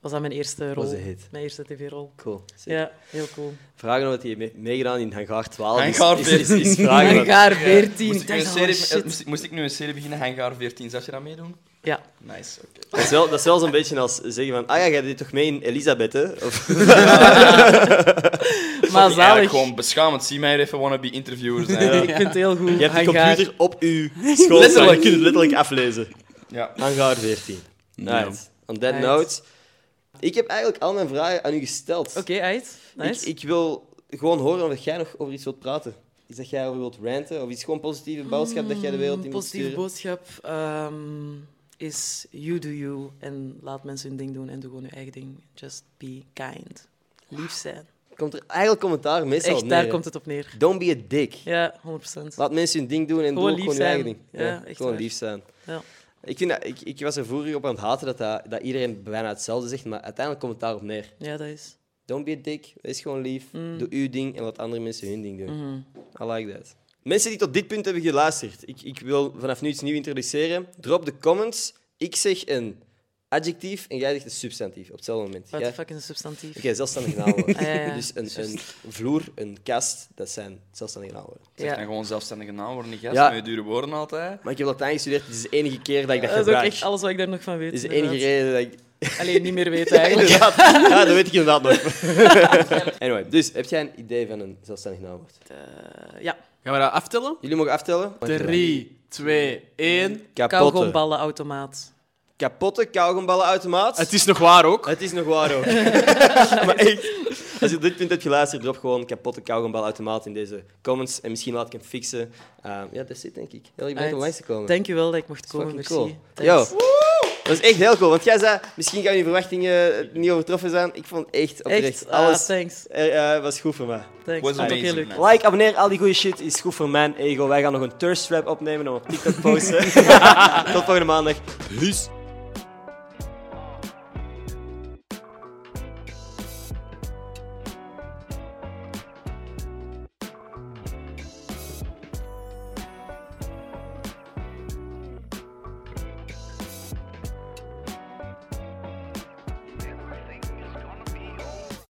B: was dat mijn eerste rol.
A: Was een hit.
B: Mijn eerste tv-rol.
A: Cool. Sick.
B: Ja, heel cool.
A: Vragen wat je hebt meegedaan in Hangaar 12 is-
D: Hangaar
A: is, is, is
D: 14.
A: vragen wat-
B: Hangaar
D: Ja.
B: 14.
D: Moest
B: ik
D: ik, nu
B: dacht
D: een
B: al,
D: serie, eh,
B: shit.
D: moest, ik- moest ik nu een serie beginnen, hangar 14, zou je dat meedoen?
B: Ja.
D: Nice, oké.
A: Dat is wel, dat is wel zo'n beetje als zeggen van, ah ja, jij deed toch mee in Elisabeth, hè? Of,
B: Maar
D: Die eigenlijk
B: zalig.
D: gewoon beschamend, zie mij hier even wannabe interviewer zijn.
B: Ik
D: Ja.
B: vind het heel goed.
A: je hebt de
B: Hangaar.
A: computer op je school staan, je kunt het letterlijk aflezen.
D: ja.
A: Hangaar 14.
C: Ja.
A: Right. On that
B: Right.
A: note, ik heb eigenlijk al mijn vragen aan u gesteld.
B: Oké, uit. Nice.
A: ik, ik wil gewoon horen of jij nog over iets wilt praten. Is dat jij over wilt ranten, of iets gewoon positieve boodschap dat jij de wereld in
B: Een
A: wilt
B: Mm, positieve
A: sturen?
B: boodschap ehm, is you do you. En laat mensen hun ding doen en doe gewoon je eigen ding. Just be kind. Lief zijn.
A: Komt er eigenlijk commentaar meestal op
B: Echt,
A: neer,
B: daar
A: hè?
B: komt het op neer.
A: Don't be a dick.
B: Ja, 100%.
A: Laat mensen hun ding doen en
B: Gewoon
A: doe ook
B: lief
A: gewoon je eigen
B: zijn.
A: ding.
B: Ja, echt
A: gewoon
B: waar.
A: lief zijn.
B: Ja.
A: Ik, vind dat, ik, ik was er vroeger op aan het haten dat, dat, dat iedereen bijna hetzelfde zegt, maar uiteindelijk komt het daarop neer.
B: Ja, dat is.
A: Don't be a dick, wees gewoon lief,
B: Mm.
A: doe uw ding en laat andere mensen hun ding doen. I like that. Mensen die tot dit punt hebben geluisterd, ik, ik wil vanaf nu iets nieuws introduceren. Drop de comments. Ik zeg een adjectief en jij zegt een substantief op hetzelfde moment.
B: What
A: Jij-
B: the fuck is een substantief?
A: Oké, zelfstandig naamwoord.
B: Ah, ja, ja.
A: Dus een, een vloer, een kast, dat zijn zelfstandige naamwoorden.
D: Zeg
B: Ja.
D: dan gewoon zelfstandige naamwoorden, niet gast,
A: Ja.
D: met je dure woorden altijd.
A: Maar ik heb Latijn gestudeerd, dit is de enige keer dat ik dat
B: Dat is ook
A: gebruik.
B: echt alles wat ik daar nog van weet.
A: Dit is de enige
B: inderdaad.
A: reden dat ik
B: Alleen niet meer weet eigenlijk.
A: Inderdaad. Ja, dat weet ik inderdaad nog. anyway, dus heb jij een idee van een zelfstandig naamwoord?
B: Eh, ja.
C: Gaan we dat aftellen?
A: Jullie mogen aftellen.
C: 3, 2, 1.
A: Kapotte,
B: Kauwgomballenautomaat.
A: kapotte kauwgomballenautomaat.
C: Het is nog waar ook.
A: Het is nog waar ook. maar echt, als je op dit punt hebt geluisterd, drop gewoon kapotte kauwgombalautomaat in deze comments. En misschien laat ik hem fixen. Eh, ja, dat zit denk ik. Heel, je bent
B: Alright.
A: om langs te komen.
B: Dankjewel dat ik mocht
A: Dat is
B: komen, merci.
A: fucking cool.
B: Thanks.
A: Yo. Dat is echt heel cool, want jij zei, misschien gaan je verwachtingen eh, niet overtroffen zijn. Ik vond echt oprecht
B: Echt, ah,
A: alles
B: alles. thanks.
A: er, eh, was goed voor mij.
B: Thanks.
D: Was
B: Vond ik ook heel
D: amazing,
B: leuk.
D: man.
A: Like, abonneer, al die goede shit is goed voor mijn ego. Wij gaan nog een thirst trap opnemen om op TikTok te posten. Tot volgende maandag. Peace.